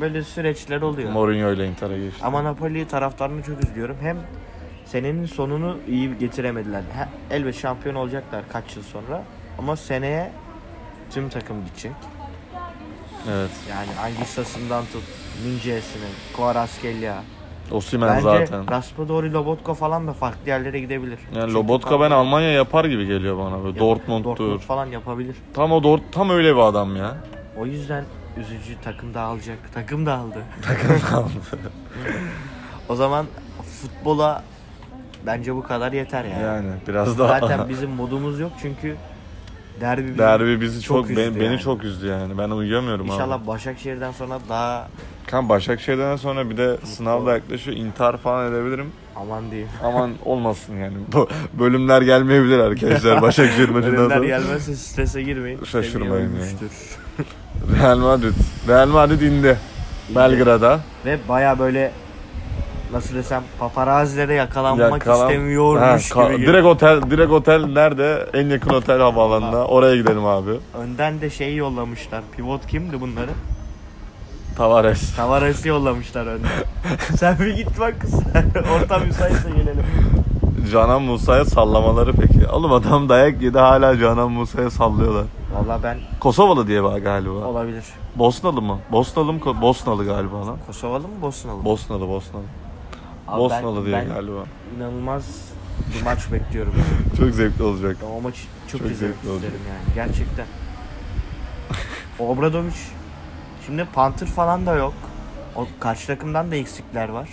[SPEAKER 2] Böyle süreçler oluyor.
[SPEAKER 1] Mourinho ile Inter'e geçti.
[SPEAKER 2] Ama Napoli taraftarını çok üzülüyorum. Hem senenin sonunu iyi getiremediler. He- Elbet şampiyon olacaklar kaç yıl sonra. Ama seneye tüm takım gidecek.
[SPEAKER 1] Evet.
[SPEAKER 2] Yani Angisa'sından tut, Mince'sine, Kvaratskhelia.
[SPEAKER 1] Osimhen
[SPEAKER 2] Bence
[SPEAKER 1] zaten.
[SPEAKER 2] Raspadori, Lobotka falan da farklı yerlere gidebilir.
[SPEAKER 1] Yani
[SPEAKER 2] Çünkü
[SPEAKER 1] Lobotka
[SPEAKER 2] tam-
[SPEAKER 1] ben Almanya yapar gibi geliyor bana. Böyle Dortmund'dur.
[SPEAKER 2] Dortmund falan yapabilir.
[SPEAKER 1] Tam o Dort tam öyle bir adam ya.
[SPEAKER 2] O yüzden üzücü takım dağılacak. Takım dağıldı. o zaman futbola bence bu kadar yeter yani.
[SPEAKER 1] Yani biraz daha
[SPEAKER 2] Zaten bizim modumuz yok çünkü derbi bizim.
[SPEAKER 1] derbi bizi
[SPEAKER 2] Çok
[SPEAKER 1] çok,
[SPEAKER 2] üzdü
[SPEAKER 1] beni, beni
[SPEAKER 2] yani.
[SPEAKER 1] çok üzdü yani. Ben uyuyamıyorum abi.
[SPEAKER 2] İnşallah Başakşehir'den sonra daha
[SPEAKER 1] Kan Başakşehir'den sonra bir de sınav da yaklaşıyor. İntihar falan edebilirim.
[SPEAKER 2] aman diyeyim.
[SPEAKER 1] Aman olmasın yani. Bu bölümler gelmeyebilir arkadaşlar Başakşehir maçından
[SPEAKER 2] Önümler
[SPEAKER 1] sonra.
[SPEAKER 2] gelmezse strese girmeyin.
[SPEAKER 1] Şaşırmayın
[SPEAKER 2] Seviye
[SPEAKER 1] yani.
[SPEAKER 2] ölmüştür.
[SPEAKER 1] Real Madrid. Real Madrid indi. Belgrad'a.
[SPEAKER 2] Ve baya böyle nasıl desem paparazilere yakalanmak
[SPEAKER 1] Yakalan- Ha,
[SPEAKER 2] istemiyormuş
[SPEAKER 1] ka-
[SPEAKER 2] gibi.
[SPEAKER 1] direkt otel, direkt otel nerede? En yakın otel havaalanına. Oraya gidelim abi.
[SPEAKER 2] Önden de şeyi yollamışlar. Pivot kimdi bunların?
[SPEAKER 1] Tavares.
[SPEAKER 2] Tavaresi yollamışlar önden. Sen bir git bak kız. Orta müsaitse gelelim.
[SPEAKER 1] Canan Musa'ya sallamaları peki. Oğlum adam dayak yedi hala Canan Musa'ya sallıyorlar.
[SPEAKER 2] Valla ben
[SPEAKER 1] Kosovalı diye bak galiba.
[SPEAKER 2] olabilir.
[SPEAKER 1] Bosnalı mı? Bosnalı mı? Ko- Bosnalı galiba lan.
[SPEAKER 2] Kosovalı mı Bosnalı mı?
[SPEAKER 1] Bosnalı, Bosnalı.
[SPEAKER 2] Abi
[SPEAKER 1] Bosnalı
[SPEAKER 2] ben,
[SPEAKER 1] diye
[SPEAKER 2] ben
[SPEAKER 1] galiba.
[SPEAKER 2] inanılmaz bir maç bekliyorum.
[SPEAKER 1] Çok zevkli olacak.
[SPEAKER 2] Ben O maçı çok,
[SPEAKER 1] Çok
[SPEAKER 2] izlemek
[SPEAKER 1] zevkli oldu.
[SPEAKER 2] isterim yani gerçekten. Obradovic şimdi Panther falan da yok. O karşı takımdan da eksikler var.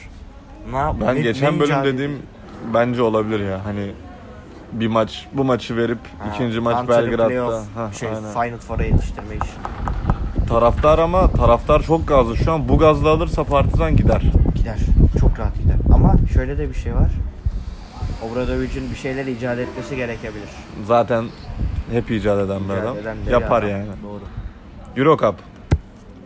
[SPEAKER 2] Ne yap-
[SPEAKER 1] Ben
[SPEAKER 2] ne-
[SPEAKER 1] geçen
[SPEAKER 2] ne
[SPEAKER 1] bölüm
[SPEAKER 2] icat
[SPEAKER 1] dediğim bence olabilir ya. Hani bir maç bu maçı verip
[SPEAKER 2] Ha,
[SPEAKER 1] ikinci maç
[SPEAKER 2] Panther'ı
[SPEAKER 1] Belgrad'da.
[SPEAKER 2] playoff,
[SPEAKER 1] Ha,
[SPEAKER 2] şey,
[SPEAKER 1] aynen.
[SPEAKER 2] Final Four'a yetiştirme işi.
[SPEAKER 1] Taraftar ama taraftar çok gazlı şu an. Bu gazla alırsa Partizan gider.
[SPEAKER 2] Gider. Çok rahat gider. Ama şöyle de bir şey var. Obradovic'in bir şeyler icat etmesi gerekebilir.
[SPEAKER 1] Zaten hep icat eden bir
[SPEAKER 2] İcat
[SPEAKER 1] adam.
[SPEAKER 2] eden de bir
[SPEAKER 1] Yapar
[SPEAKER 2] adam.
[SPEAKER 1] yani.
[SPEAKER 2] Doğru.
[SPEAKER 1] Eurocup.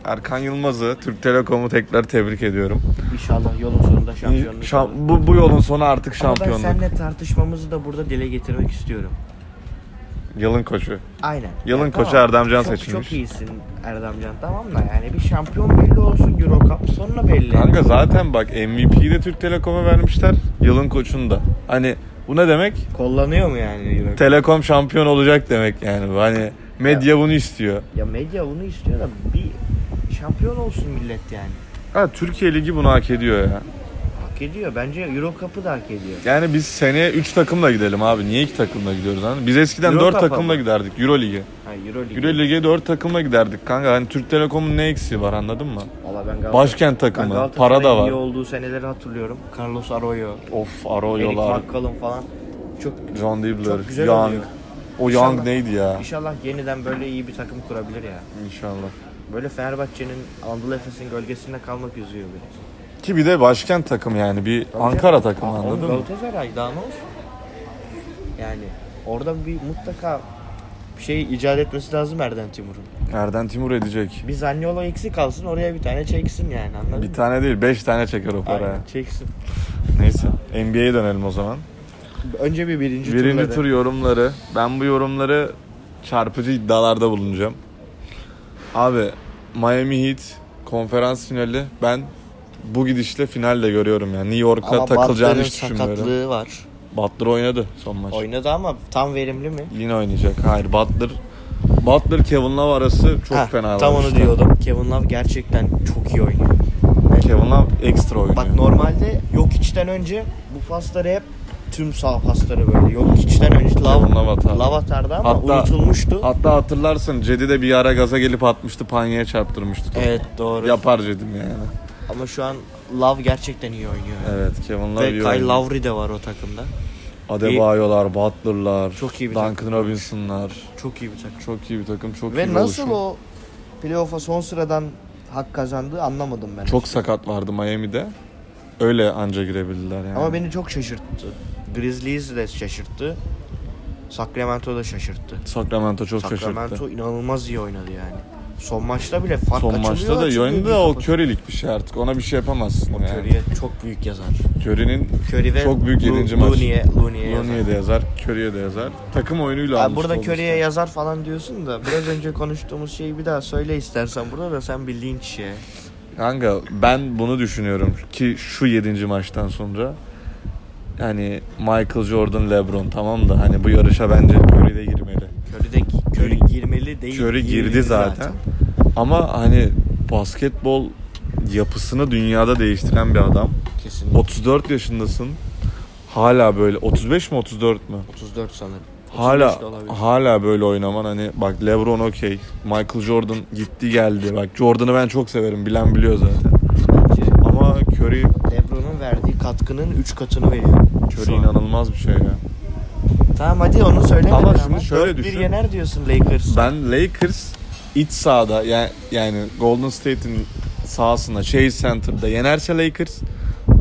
[SPEAKER 1] Erkan Yılmaz'ı Türk Telekom'u tekrar tebrik ediyorum.
[SPEAKER 2] İnşallah yolun sonunda şampiyonluk.
[SPEAKER 1] Şam-
[SPEAKER 2] olur.
[SPEAKER 1] bu, bu yolun sonu artık
[SPEAKER 2] Ama ben
[SPEAKER 1] şampiyonluk.
[SPEAKER 2] seninle tartışmamızı da burada dile getirmek istiyorum.
[SPEAKER 1] Yılın koçu.
[SPEAKER 2] Aynen.
[SPEAKER 1] Yılın
[SPEAKER 2] Ya
[SPEAKER 1] koçu Erdem Can
[SPEAKER 2] çok,
[SPEAKER 1] seçilmiş.
[SPEAKER 2] Çok iyisin Erdemcan tamam da yani bir şampiyon belli olsun Euro Cup sonra belli.
[SPEAKER 1] Kanka zaten bak MVP'yi de Türk Telekom'a vermişler. Yılın koçunu da. Hani bu ne demek?
[SPEAKER 2] Kollanıyor mu yani Euro Cup?
[SPEAKER 1] Telekom şampiyon olacak demek yani. bu. Hani medya bunu istiyor.
[SPEAKER 2] Ya medya bunu istiyor da bir şampiyon olsun millet yani.
[SPEAKER 1] Ha, Türkiye Ligi bunu hak ediyor ya.
[SPEAKER 2] Hak ediyor. Bence Euro Cup'ı da hak ediyor.
[SPEAKER 1] Yani biz seneye 3 takımla gidelim abi. Niye 2 takımla gidiyoruz? Hani biz eskiden
[SPEAKER 2] Euro
[SPEAKER 1] 4
[SPEAKER 2] Cup
[SPEAKER 1] takımla
[SPEAKER 2] abi.
[SPEAKER 1] giderdik Euro Ligi.
[SPEAKER 2] Ha, Ha Euroleague.
[SPEAKER 1] Euro Lig'e 4 takıma giderdik kanka. Hani Türk Telekom'un ne eksiği var anladın mı?
[SPEAKER 2] Valla ben Galatasaray-
[SPEAKER 1] Başkent
[SPEAKER 2] ben
[SPEAKER 1] takımı.
[SPEAKER 2] Galatasaray'ın
[SPEAKER 1] Para da var.
[SPEAKER 2] iyi olduğu seneleri hatırlıyorum. Carlos Arroyo,
[SPEAKER 1] Of
[SPEAKER 2] Eric
[SPEAKER 1] Arroyo'lar,
[SPEAKER 2] McCallum falan. Çok
[SPEAKER 1] John
[SPEAKER 2] Çok
[SPEAKER 1] Dibbler,
[SPEAKER 2] güzel
[SPEAKER 1] Young.
[SPEAKER 2] oluyor.
[SPEAKER 1] O Young
[SPEAKER 2] İnşallah.
[SPEAKER 1] neydi ya?
[SPEAKER 2] inşallah yeniden böyle iyi bir takım kurabilir ya.
[SPEAKER 1] İnşallah.
[SPEAKER 2] Böyle Fenerbahçe'nin Anadolu Efes'in gölgesinde kalmak üzüyor beni.
[SPEAKER 1] Ki bir de başkent takım yani bir Ankara takımı
[SPEAKER 2] Oğlum
[SPEAKER 1] anladın mı?
[SPEAKER 2] Galatasaray daha ne olsun? Yani orada bir mutlaka bir şey icat etmesi lazım Erden Timur'un.
[SPEAKER 1] Erden Timur edecek.
[SPEAKER 2] Bir Zaniolo eksik kalsın oraya bir tane çeksin yani anladın
[SPEAKER 1] Bir
[SPEAKER 2] mı?
[SPEAKER 1] tane değil 5 tane çeker o paraya.
[SPEAKER 2] Aynen, çeksin.
[SPEAKER 1] Neyse NBA'ye dönelim o zaman.
[SPEAKER 2] Önce bir birinci,
[SPEAKER 1] Birinci
[SPEAKER 2] turları.
[SPEAKER 1] tur yorumları. Ben bu yorumları çarpıcı iddialarda bulunacağım. Abi Miami Heat konferans finali ben bu gidişle finalle görüyorum yani. New York'ta
[SPEAKER 2] Ama
[SPEAKER 1] takılacağını
[SPEAKER 2] Butler'ın
[SPEAKER 1] hiç düşünmüyorum.
[SPEAKER 2] sakatlığı var.
[SPEAKER 1] Butler oynadı son maç.
[SPEAKER 2] Oynadı ama tam verimli mi?
[SPEAKER 1] Yine oynayacak. Hayır Butler Butler Kevin Love arası çok
[SPEAKER 2] Ha,
[SPEAKER 1] fena.
[SPEAKER 2] Tam
[SPEAKER 1] var
[SPEAKER 2] onu
[SPEAKER 1] işte.
[SPEAKER 2] diyordum. Kevin Love gerçekten çok iyi oynuyor.
[SPEAKER 1] Kevin Love ekstra oynuyor.
[SPEAKER 2] Bak normalde yok içten önce bu pasları hep tüm sağ pasları böyle yok içten önce
[SPEAKER 1] Kevin Love
[SPEAKER 2] lav,
[SPEAKER 1] atardı.
[SPEAKER 2] lav atardı ama
[SPEAKER 1] Hatta-
[SPEAKER 2] unutulmuştu.
[SPEAKER 1] Hatta hatırlarsın Cedi de bir ara gaza gelip atmıştı panyaya çarptırmıştı. topu.
[SPEAKER 2] evet doğru.
[SPEAKER 1] Yapar Cedim yani.
[SPEAKER 2] Ama şu an Love gerçekten iyi oynuyor.
[SPEAKER 1] Evet Kevin Love
[SPEAKER 2] Ve
[SPEAKER 1] iyi
[SPEAKER 2] Kyle
[SPEAKER 1] oynuyor.
[SPEAKER 2] Lowry de var o takımda.
[SPEAKER 1] Adebayo'lar, Butler'lar,
[SPEAKER 2] Çok iyi bir
[SPEAKER 1] Duncan Robinson'lar.
[SPEAKER 2] Çok iyi bir takım.
[SPEAKER 1] Çok iyi bir takım, çok iyi
[SPEAKER 2] Ve
[SPEAKER 1] bir
[SPEAKER 2] nasıl
[SPEAKER 1] oluşum.
[SPEAKER 2] o playoff'a son sıradan hak kazandığı anlamadım ben.
[SPEAKER 1] Çok sakat vardı Miami'de. Öyle anca girebildiler yani.
[SPEAKER 2] Ama beni çok şaşırttı. Grizzlies de şaşırttı. Sacramento da şaşırttı.
[SPEAKER 1] Sacramento çok
[SPEAKER 2] Sacramento
[SPEAKER 1] şaşırttı.
[SPEAKER 2] inanılmaz iyi oynadı yani. Son maçta bile fark
[SPEAKER 1] Son
[SPEAKER 2] açılıyor,
[SPEAKER 1] maçta da
[SPEAKER 2] açılıyor,
[SPEAKER 1] Yoyni
[SPEAKER 2] bir
[SPEAKER 1] de o
[SPEAKER 2] kapat-
[SPEAKER 1] Curry'lik bir şey artık. Ona bir şey yapamazsın yani.
[SPEAKER 2] Curry'e çok büyük yazar.
[SPEAKER 1] Curry'nin
[SPEAKER 2] Curry ve
[SPEAKER 1] Çok büyük
[SPEAKER 2] Lu-
[SPEAKER 1] yedinci maç.
[SPEAKER 2] Looney'e, Looney'e yazar.
[SPEAKER 1] Lonnie'ye de yazar, Curry'e de yazar. Takım oyunuyla
[SPEAKER 2] Abi
[SPEAKER 1] almış.
[SPEAKER 2] burada
[SPEAKER 1] Golden
[SPEAKER 2] Curry'e
[SPEAKER 1] State.
[SPEAKER 2] yazar falan diyorsun da biraz önce konuştuğumuz şeyi bir daha söyle istersen burada da sen bir linç ye.
[SPEAKER 1] Kanka ben bunu düşünüyorum ki şu 7. maçtan sonra yani Michael Jordan, LeBron tamam da hani bu yarışa bence Curry de girmeli.
[SPEAKER 2] Curry de Curry girmeli değil.
[SPEAKER 1] Curry girdi
[SPEAKER 2] girmeli
[SPEAKER 1] zaten. Ama hani basketbol yapısını dünyada değiştiren bir adam.
[SPEAKER 2] Kesin.
[SPEAKER 1] 34 yaşındasın. Hala böyle 35 mi 34 mü?
[SPEAKER 2] 34 sanırım. 35
[SPEAKER 1] Hala
[SPEAKER 2] de olabilir.
[SPEAKER 1] hala böyle oynaman hani bak LeBron okey. Michael Jordan gitti geldi. Bak Jordan'ı ben çok severim. Bilen biliyor zaten.
[SPEAKER 2] Bence
[SPEAKER 1] Ama Curry
[SPEAKER 2] LeBron'un verdiği katkının 3 katını veriyor.
[SPEAKER 1] Curry inanılmaz bir şey ya.
[SPEAKER 2] Tamam hadi onu söyle.
[SPEAKER 1] Ama şimdi şöyle düşün.
[SPEAKER 2] yener diyorsun Lakers.
[SPEAKER 1] Ben Lakers iç sahada yani, yani Golden State'in sahasında Chase Center'da yenerse Lakers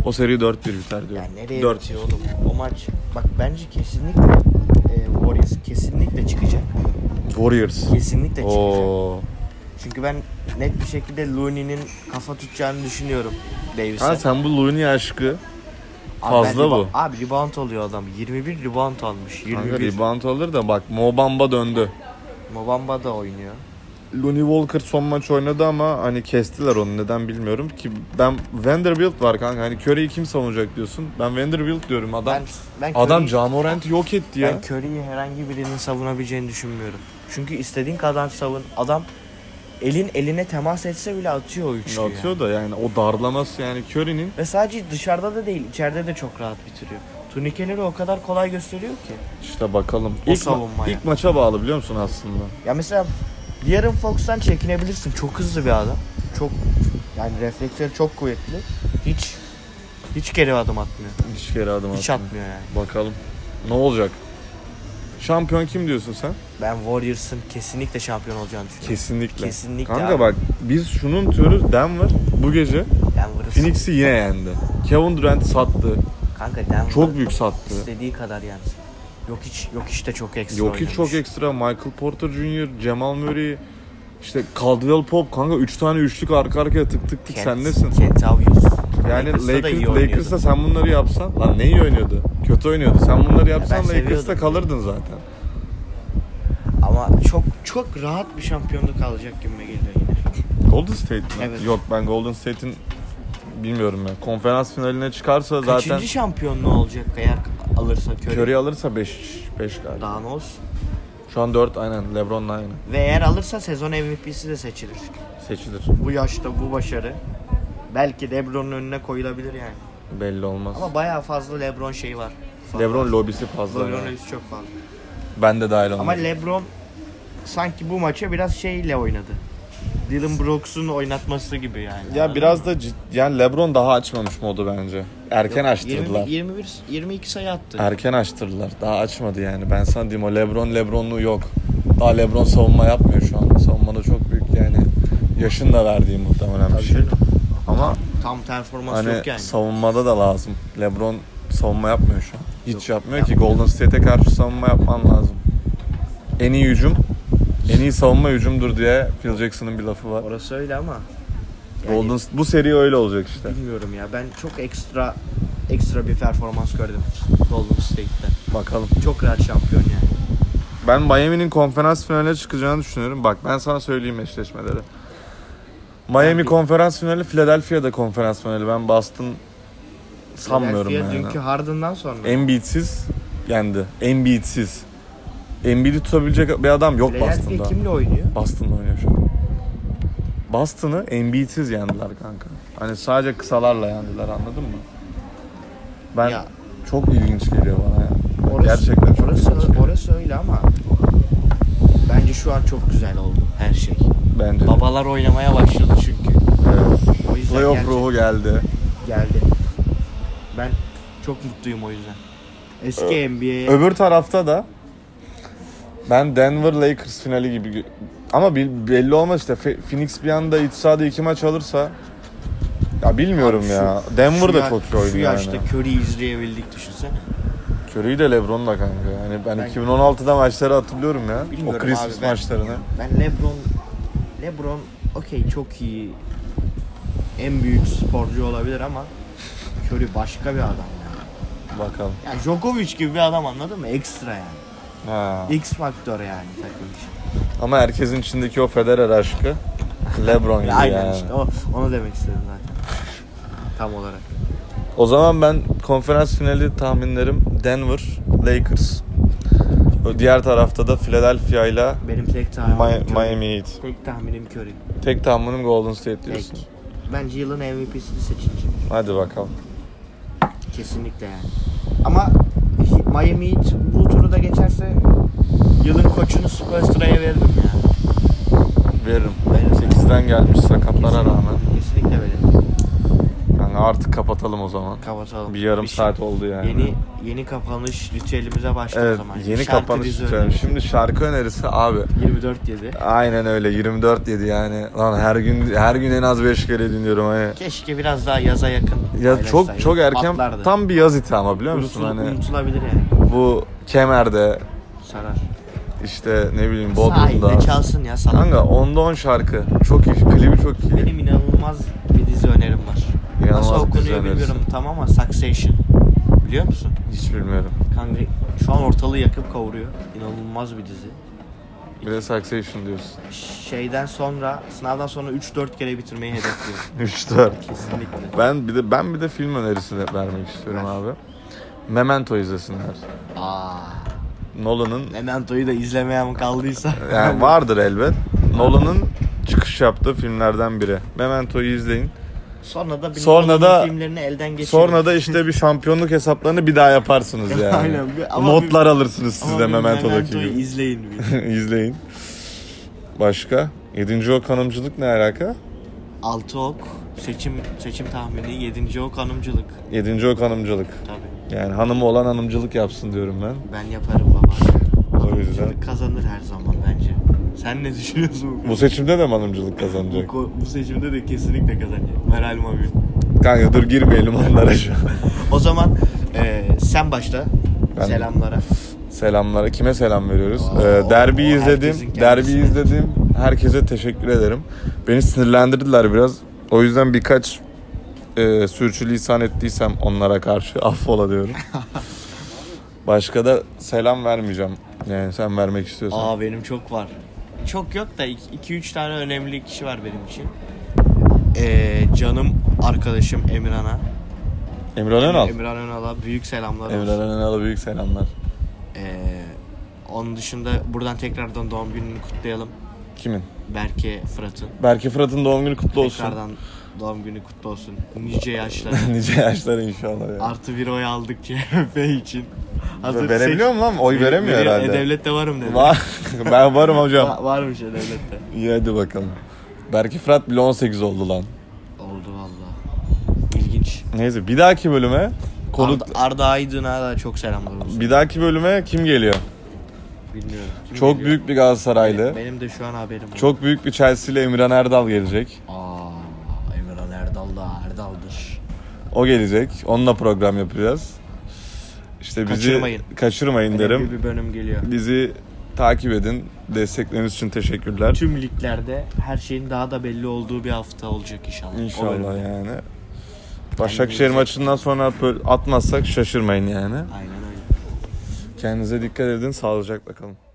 [SPEAKER 1] o seri 4-1 biter diyor.
[SPEAKER 2] Ya nereye
[SPEAKER 1] 4.
[SPEAKER 2] bitiyor oğlum o maç? Bak bence kesinlikle e, Warriors kesinlikle çıkacak.
[SPEAKER 1] Warriors.
[SPEAKER 2] Kesinlikle çıkacak.
[SPEAKER 1] Oo.
[SPEAKER 2] Çünkü ben net bir şekilde Looney'nin kafa tutacağını düşünüyorum Davis'e.
[SPEAKER 1] Ha sen bu Looney aşkı
[SPEAKER 2] Abi ben
[SPEAKER 1] fazla
[SPEAKER 2] reba-
[SPEAKER 1] bu.
[SPEAKER 2] Abi rebound oluyor adam. 21 rebound almış.
[SPEAKER 1] Kanka
[SPEAKER 2] 21.
[SPEAKER 1] rebound alır da bak Mobamba döndü.
[SPEAKER 2] Mobamba da oynuyor.
[SPEAKER 1] Looney Walker son maç oynadı ama hani kestiler onu neden bilmiyorum ki ben Vanderbilt var kanka hani Curry'i kim savunacak diyorsun ben Vanderbilt diyorum adam
[SPEAKER 2] Ben, ben
[SPEAKER 1] adam
[SPEAKER 2] Curry'i-
[SPEAKER 1] Ja Morant'i yok etti ya
[SPEAKER 2] Ben Curry'i herhangi birinin savunabileceğini düşünmüyorum. Çünkü istediğin kadar savun. Adam elin eline temas etse bile atıyor o üçlüyü. yani.
[SPEAKER 1] atıyor da yani o darlaması yani Curry'nin
[SPEAKER 2] Ve sadece dışarıda da değil, içeride de çok rahat bitiriyor. Turnikeleri o kadar kolay gösteriyor ki.
[SPEAKER 1] işte bakalım
[SPEAKER 2] O
[SPEAKER 1] ilk,
[SPEAKER 2] savunmaya.
[SPEAKER 1] ilk maça bağlı biliyor musun aslında
[SPEAKER 2] Ya mesela De'Aaron Fox'tan çekinebilirsin. Çok hızlı bir adam. Çok yani refleksleri çok kuvvetli. Hiç hiç geri adım atmıyor.
[SPEAKER 1] hiç kere adım
[SPEAKER 2] Hiç
[SPEAKER 1] atmıyor.
[SPEAKER 2] atmıyor yani.
[SPEAKER 1] bakalım ne olacak şampiyon kim diyorsun sen
[SPEAKER 2] Ben Warriors'ın kesinlikle şampiyon olacağını düşünüyorum.
[SPEAKER 1] kesinlikle
[SPEAKER 2] Kesinlikle
[SPEAKER 1] kanka
[SPEAKER 2] abi.
[SPEAKER 1] bak biz şunun diyoruz Denver bu gece
[SPEAKER 2] Denver'ı
[SPEAKER 1] Phoenix'i yine yendi Kevin Durant sattı
[SPEAKER 2] kanka Denver
[SPEAKER 1] çok büyük sattı
[SPEAKER 2] istediği kadar yani. Yok hiç yok işte çok ekstra.
[SPEAKER 1] Yok hiç
[SPEAKER 2] oynamış.
[SPEAKER 1] çok ekstra. Michael Porter Jr., Jamal Murray, işte Caldwell Pope kanka 3 tane üçlük arka arkaya tık tık tık
[SPEAKER 2] Kent-
[SPEAKER 1] sen nesin?
[SPEAKER 2] Kent Towns.
[SPEAKER 1] Yani
[SPEAKER 2] Lakers'ta da iyi
[SPEAKER 1] Lakers,
[SPEAKER 2] oynuyordu.
[SPEAKER 1] Lakers'ta sen bunları yapsan lan ne iyi oynuyordu? Kötü oynuyordu. Sen bunları yapsan Lakers'ta
[SPEAKER 2] seviyordum.
[SPEAKER 1] kalırdın zaten.
[SPEAKER 2] Ama çok çok rahat bir şampiyonluk alacak gibime geliyor yine.
[SPEAKER 1] Golden State mi?
[SPEAKER 2] Evet.
[SPEAKER 1] Yok ben Golden State'in bilmiyorum ya. Konferans finaline çıkarsa zaten
[SPEAKER 2] Kaçıncı şampiyonluğu olacak eğer alırsa Curry?
[SPEAKER 1] Curry alırsa 5 5 galiba.
[SPEAKER 2] Daha ne olsun.
[SPEAKER 1] Şu an 4 aynen LeBron'la aynı.
[SPEAKER 2] Ve eğer alırsa sezon MVP'si de seçilir.
[SPEAKER 1] Seçilir.
[SPEAKER 2] Bu yaşta bu başarı belki LeBron'un önüne koyulabilir yani.
[SPEAKER 1] Belli olmaz.
[SPEAKER 2] Ama bayağı fazla LeBron şeyi var. Fazla.
[SPEAKER 1] LeBron lobisi fazla.
[SPEAKER 2] LeBron
[SPEAKER 1] yani.
[SPEAKER 2] öylesi çok fazla.
[SPEAKER 1] Ben de dahil olmadım.
[SPEAKER 2] Ama LeBron sanki bu maça biraz şeyle oynadı. Dylan Brooks'un oynatması gibi yani.
[SPEAKER 1] Ya biraz da cid- yani LeBron daha açmamış modu bence. Erken açtırdılar.
[SPEAKER 2] 20, 21 22 sayı attı.
[SPEAKER 1] Erken açtırdılar. Daha açmadı yani. Ben sana diyeyim o LeBron LeBron'luğu yok. Daha LeBron savunma yapmıyor şu anda. Savunmada çok büyük yani yaşın da verdiği muhtemelen bir
[SPEAKER 2] Tabii
[SPEAKER 1] şey.
[SPEAKER 2] canım.
[SPEAKER 1] Ama
[SPEAKER 2] Tam performans
[SPEAKER 1] hani
[SPEAKER 2] yok yani.
[SPEAKER 1] savunmada da lazım. LeBron savunma yapmıyor şu an. Hiç yapmıyor ki Golden State'e karşı savunma yapman lazım. En iyi hücum, en iyi savunma hücumdur diye Phil Jackson'ın bir lafı var.
[SPEAKER 2] Orası öyle ama
[SPEAKER 1] Golden bu seri öyle olacak işte.
[SPEAKER 2] bilmiyorum ya. Ben çok ekstra ekstra bir performans gördüm Golden State'te.
[SPEAKER 1] Bakalım.
[SPEAKER 2] Çok rahat şampiyon yani.
[SPEAKER 1] Ben Miami'nin konferans finaline çıkacağını düşünüyorum. Bak ben sana söyleyeyim eşleşmeleri. Miami
[SPEAKER 2] Yani-
[SPEAKER 1] konferans finali, Philadelphia'da konferans finali. Ben Boston sanmıyorum
[SPEAKER 2] Philadelphia
[SPEAKER 1] yani.
[SPEAKER 2] Dünkü Harden'dan sonra.
[SPEAKER 1] Embiid'siz yendi. Embiid'siz. Embiid'i tutabilecek bir adam yok
[SPEAKER 2] Philadelphia
[SPEAKER 1] Boston'da.
[SPEAKER 2] kimle oynuyor?
[SPEAKER 1] Boston'da oynuyor şu an. Boston'ı Embiid'siz yendiler kanka. Hani sadece kısalarla yendiler anladın mı? Ben
[SPEAKER 2] Ya.
[SPEAKER 1] çok ilginç geliyor bana ya.
[SPEAKER 2] Orası,
[SPEAKER 1] Gerçekten çok
[SPEAKER 2] orası,
[SPEAKER 1] ilginç. geliyor.
[SPEAKER 2] orası öyle ama bence şu an çok güzel oldu her şey.
[SPEAKER 1] Bence. de.
[SPEAKER 2] Babalar oynamaya başladı çünkü.
[SPEAKER 1] Evet.
[SPEAKER 2] O yüzden
[SPEAKER 1] Playoff
[SPEAKER 2] gerçek-
[SPEAKER 1] ruhu geldi.
[SPEAKER 2] geldi. Ben çok mutluyum o yüzden. Eski NBA. 'ye
[SPEAKER 1] Öbür tarafta da ben Denver Lakers finali gibi gö- ama bil- belli olmaz işte Fe- Phoenix bir anda iç sahada iki maç alırsa ya bilmiyorum
[SPEAKER 2] Abi şu-
[SPEAKER 1] ya. Denver
[SPEAKER 2] şu
[SPEAKER 1] da
[SPEAKER 2] ya-
[SPEAKER 1] çok iyi oynuyor.
[SPEAKER 2] Şu yaşta
[SPEAKER 1] yani.
[SPEAKER 2] Curry'i izleyebildik düşünsene.
[SPEAKER 1] Curry de LeBron da kanka. Yani ben,
[SPEAKER 2] Ben-
[SPEAKER 1] 2016'da maçları hatırlıyorum ya.
[SPEAKER 2] Bilmiyorum
[SPEAKER 1] o Christmas
[SPEAKER 2] abi ben-
[SPEAKER 1] maçlarını.
[SPEAKER 2] Ben LeBron LeBron okey çok iyi en büyük sporcu olabilir ama Curry başka bir adam. ya.
[SPEAKER 1] Bakalım.
[SPEAKER 2] Yani Djokovic gibi bir adam anladın mı? Ekstra yani.
[SPEAKER 1] Ha.
[SPEAKER 2] X faktör yani takım için.
[SPEAKER 1] Ama herkesin içindeki o Federer aşkı LeBron gibi
[SPEAKER 2] Aynen
[SPEAKER 1] yani.
[SPEAKER 2] işte o, onu demek istedim zaten. Tam olarak.
[SPEAKER 1] O zaman ben konferans finali tahminlerim Denver, Lakers. O diğer tarafta da Philadelphia ile
[SPEAKER 2] Benim tek tahminim
[SPEAKER 1] Mi-
[SPEAKER 2] Curry.
[SPEAKER 1] Miami Heat.
[SPEAKER 2] Tek tahminim Curry.
[SPEAKER 1] Tek tahminim Golden State
[SPEAKER 2] Tek.
[SPEAKER 1] diyorsun.
[SPEAKER 2] Bence yılın MVP'sini seçeceğim.
[SPEAKER 1] Hadi bakalım.
[SPEAKER 2] Kesinlikle yani. Ama Miami Heat bu turu da geçerse yılın koçunu Spurs'tra'ya veririm ya.
[SPEAKER 1] Veririm.
[SPEAKER 2] Veririm.
[SPEAKER 1] 8'den gelmiş sakatlara rağmen.
[SPEAKER 2] Kesinlikle veririm.
[SPEAKER 1] Yani artık kapatalım o zaman.
[SPEAKER 2] Kapatalım.
[SPEAKER 1] Bir yarım
[SPEAKER 2] şey-
[SPEAKER 1] saat oldu yani.
[SPEAKER 2] Yeni yeni kapanış ritüelimize başladı o
[SPEAKER 1] Evet,
[SPEAKER 2] zaman.
[SPEAKER 1] Ee, yeni
[SPEAKER 2] Şarkı
[SPEAKER 1] kapanış
[SPEAKER 2] bizi
[SPEAKER 1] lütfen.
[SPEAKER 2] önermiş.
[SPEAKER 1] Şimdi şarkı önerisi abi.
[SPEAKER 2] 24 7.
[SPEAKER 1] Aynen öyle 24 dedi yani. Lan her gün her gün en az 5 kere dinliyorum hani.
[SPEAKER 2] Keşke biraz daha yaza yakın.
[SPEAKER 1] Ya çok
[SPEAKER 2] paylaşsaydık.
[SPEAKER 1] çok erken
[SPEAKER 2] Patlardı.
[SPEAKER 1] tam bir yaz iti ama biliyor musun
[SPEAKER 2] Unutul-
[SPEAKER 1] hani
[SPEAKER 2] unutulabilir yani.
[SPEAKER 1] bu kemerde
[SPEAKER 2] Sarar.
[SPEAKER 1] işte ne bileyim
[SPEAKER 2] Sahilde
[SPEAKER 1] Bodrum'da.
[SPEAKER 2] çalsın ya sana.
[SPEAKER 1] Kanka onda 10 şarkı. Çok iyi. Klibi çok iyi.
[SPEAKER 2] Benim inanılmaz bir dizi önerim var.
[SPEAKER 1] İnanılmaz
[SPEAKER 2] Nasıl
[SPEAKER 1] bir dizi
[SPEAKER 2] okunuyor
[SPEAKER 1] önerisi.
[SPEAKER 2] bilmiyorum tam ama Succession. Biliyor musun?
[SPEAKER 1] Hiç bilmiyorum.
[SPEAKER 2] Kanka şu an ortalığı yakıp kavuruyor. İnanılmaz bir dizi.
[SPEAKER 1] Bir de Succession diyorsun.
[SPEAKER 2] Şeyden sonra, sınavdan sonra 3-4 kere bitirmeyi hedefliyorum.
[SPEAKER 1] 3 4.
[SPEAKER 2] Kesinlikle.
[SPEAKER 1] Ben bir de ben bir de film önerisi de vermek istiyorum
[SPEAKER 2] Ver.
[SPEAKER 1] abi. Memento izlesinler.
[SPEAKER 2] Aa,
[SPEAKER 1] Nolan'ın
[SPEAKER 2] Memento'yu da izlemeye mi kaldıysa?
[SPEAKER 1] yani vardır elbet. Nolan'ın çıkış yaptığı filmlerden biri. Memento'yu izleyin.
[SPEAKER 2] Sonra da bir
[SPEAKER 1] Sonra
[SPEAKER 2] Nolan'ın
[SPEAKER 1] da-
[SPEAKER 2] filmlerini elden geçirin.
[SPEAKER 1] Sonra da işte bir şampiyonluk hesaplarını bir daha yaparsınız yani.
[SPEAKER 2] Aynen, bir- ama
[SPEAKER 1] Notlar
[SPEAKER 2] bir-
[SPEAKER 1] alırsınız siz
[SPEAKER 2] Ama
[SPEAKER 1] de
[SPEAKER 2] bir
[SPEAKER 1] Memento'daki
[SPEAKER 2] Memento'yu
[SPEAKER 1] gibi.
[SPEAKER 2] izleyin bir.
[SPEAKER 1] İzleyin. Başka? Yedinci ok hanımcılık ne alaka?
[SPEAKER 2] Altı ok, seçim seçim tahmini, 7. ok hanımcılık.
[SPEAKER 1] Yedinci ok hanımcılık.
[SPEAKER 2] Tabii.
[SPEAKER 1] Yani hanımı olan hanımcılık yapsın diyorum ben.
[SPEAKER 2] Ben yaparım baba.
[SPEAKER 1] O yüzden-
[SPEAKER 2] Hanımcılık kazanır her zaman bence. Sen ne düşünüyorsun?
[SPEAKER 1] Bu seçimde de mi hanımcılık
[SPEAKER 2] Bu,
[SPEAKER 1] kazanacak?
[SPEAKER 2] ko- bu seçimde de kesinlikle kazanacak. Meral abi.
[SPEAKER 1] Kanka dur girmeyelim onlara şu an.
[SPEAKER 2] O zaman eee, sen başla.
[SPEAKER 1] Ben-
[SPEAKER 2] Selamlara.
[SPEAKER 1] Selamlara. Kime selam veriyoruz?
[SPEAKER 2] Aa,
[SPEAKER 1] Ee, derbi
[SPEAKER 2] o- o herkesin
[SPEAKER 1] izledim.
[SPEAKER 2] kendisine.
[SPEAKER 1] Derbi izledim. Herkese teşekkür ederim. Beni sinirlendirdiler biraz. O yüzden birkaç e, sürçülisan ettiysem onlara karşı affola diyorum. Başka da selam vermeyeceğim. Yani sen vermek istiyorsan.
[SPEAKER 2] Aa benim çok var. Çok yok da 2-3 tane önemli kişi var benim için. Eee, canım arkadaşım Emirhan'a.
[SPEAKER 1] Emran Önal.
[SPEAKER 2] Emirhan Önal'a büyük selamlar olsun.
[SPEAKER 1] Emran Önal'a büyük selamlar.
[SPEAKER 2] Eee, onun dışında buradan tekrardan doğum gününü kutlayalım.
[SPEAKER 1] Kimin?
[SPEAKER 2] Berke Fırat'ın.
[SPEAKER 1] Berke Fırat'ın doğum günü kutlu olsun.
[SPEAKER 2] Tekrardan Doğum günü kutlu olsun. Nice yaşlar.
[SPEAKER 1] nice yaşlar inşallah. ya.
[SPEAKER 2] Artı bir oy aldık CHP için. Hazır
[SPEAKER 1] Verebiliyor
[SPEAKER 2] seç-
[SPEAKER 1] mu lan? Oy veremiyor
[SPEAKER 2] Veriyor.
[SPEAKER 1] herhalde.
[SPEAKER 2] E, devlette varım dedi.
[SPEAKER 1] Var. ben varım hocam.
[SPEAKER 2] Va- varmış ya devlette.
[SPEAKER 1] İyi hadi bakalım. Berki Fırat bile 18 oldu lan.
[SPEAKER 2] Oldu valla. İlginç.
[SPEAKER 1] Neyse bir dahaki bölüme konuk
[SPEAKER 2] Arda, Arda Aydın'a da çok selamlar olsun.
[SPEAKER 1] bir dahaki bölüme kim geliyor?
[SPEAKER 2] Bilmiyorum. Kim
[SPEAKER 1] Çok
[SPEAKER 2] geliyor?
[SPEAKER 1] büyük bir Galatasaraylı.
[SPEAKER 2] Benim de şu an haberim yok.
[SPEAKER 1] Çok büyük bir Chelsea'li Emirhan Erdal gelecek.
[SPEAKER 2] Aa, Emirhan Erdal da Erdal'dır.
[SPEAKER 1] O gelecek. Onunla program yapacağız. İşte bizi
[SPEAKER 2] Kaçırmayın.
[SPEAKER 1] kaçırmayın
[SPEAKER 2] Önemli
[SPEAKER 1] derim.
[SPEAKER 2] bir bölüm geliyor.
[SPEAKER 1] Bizi takip edin. Destekleriniz için teşekkürler.
[SPEAKER 2] Tüm liglerde her şeyin daha da belli olduğu bir hafta olacak inşallah. O bölüm.
[SPEAKER 1] İnşallah yani. Başakşehir maçından sonra böyle atmazsak şaşırmayın yani.
[SPEAKER 2] Aynen öyle.
[SPEAKER 1] Kendinize dikkat edin. Sağlıcakla kalın.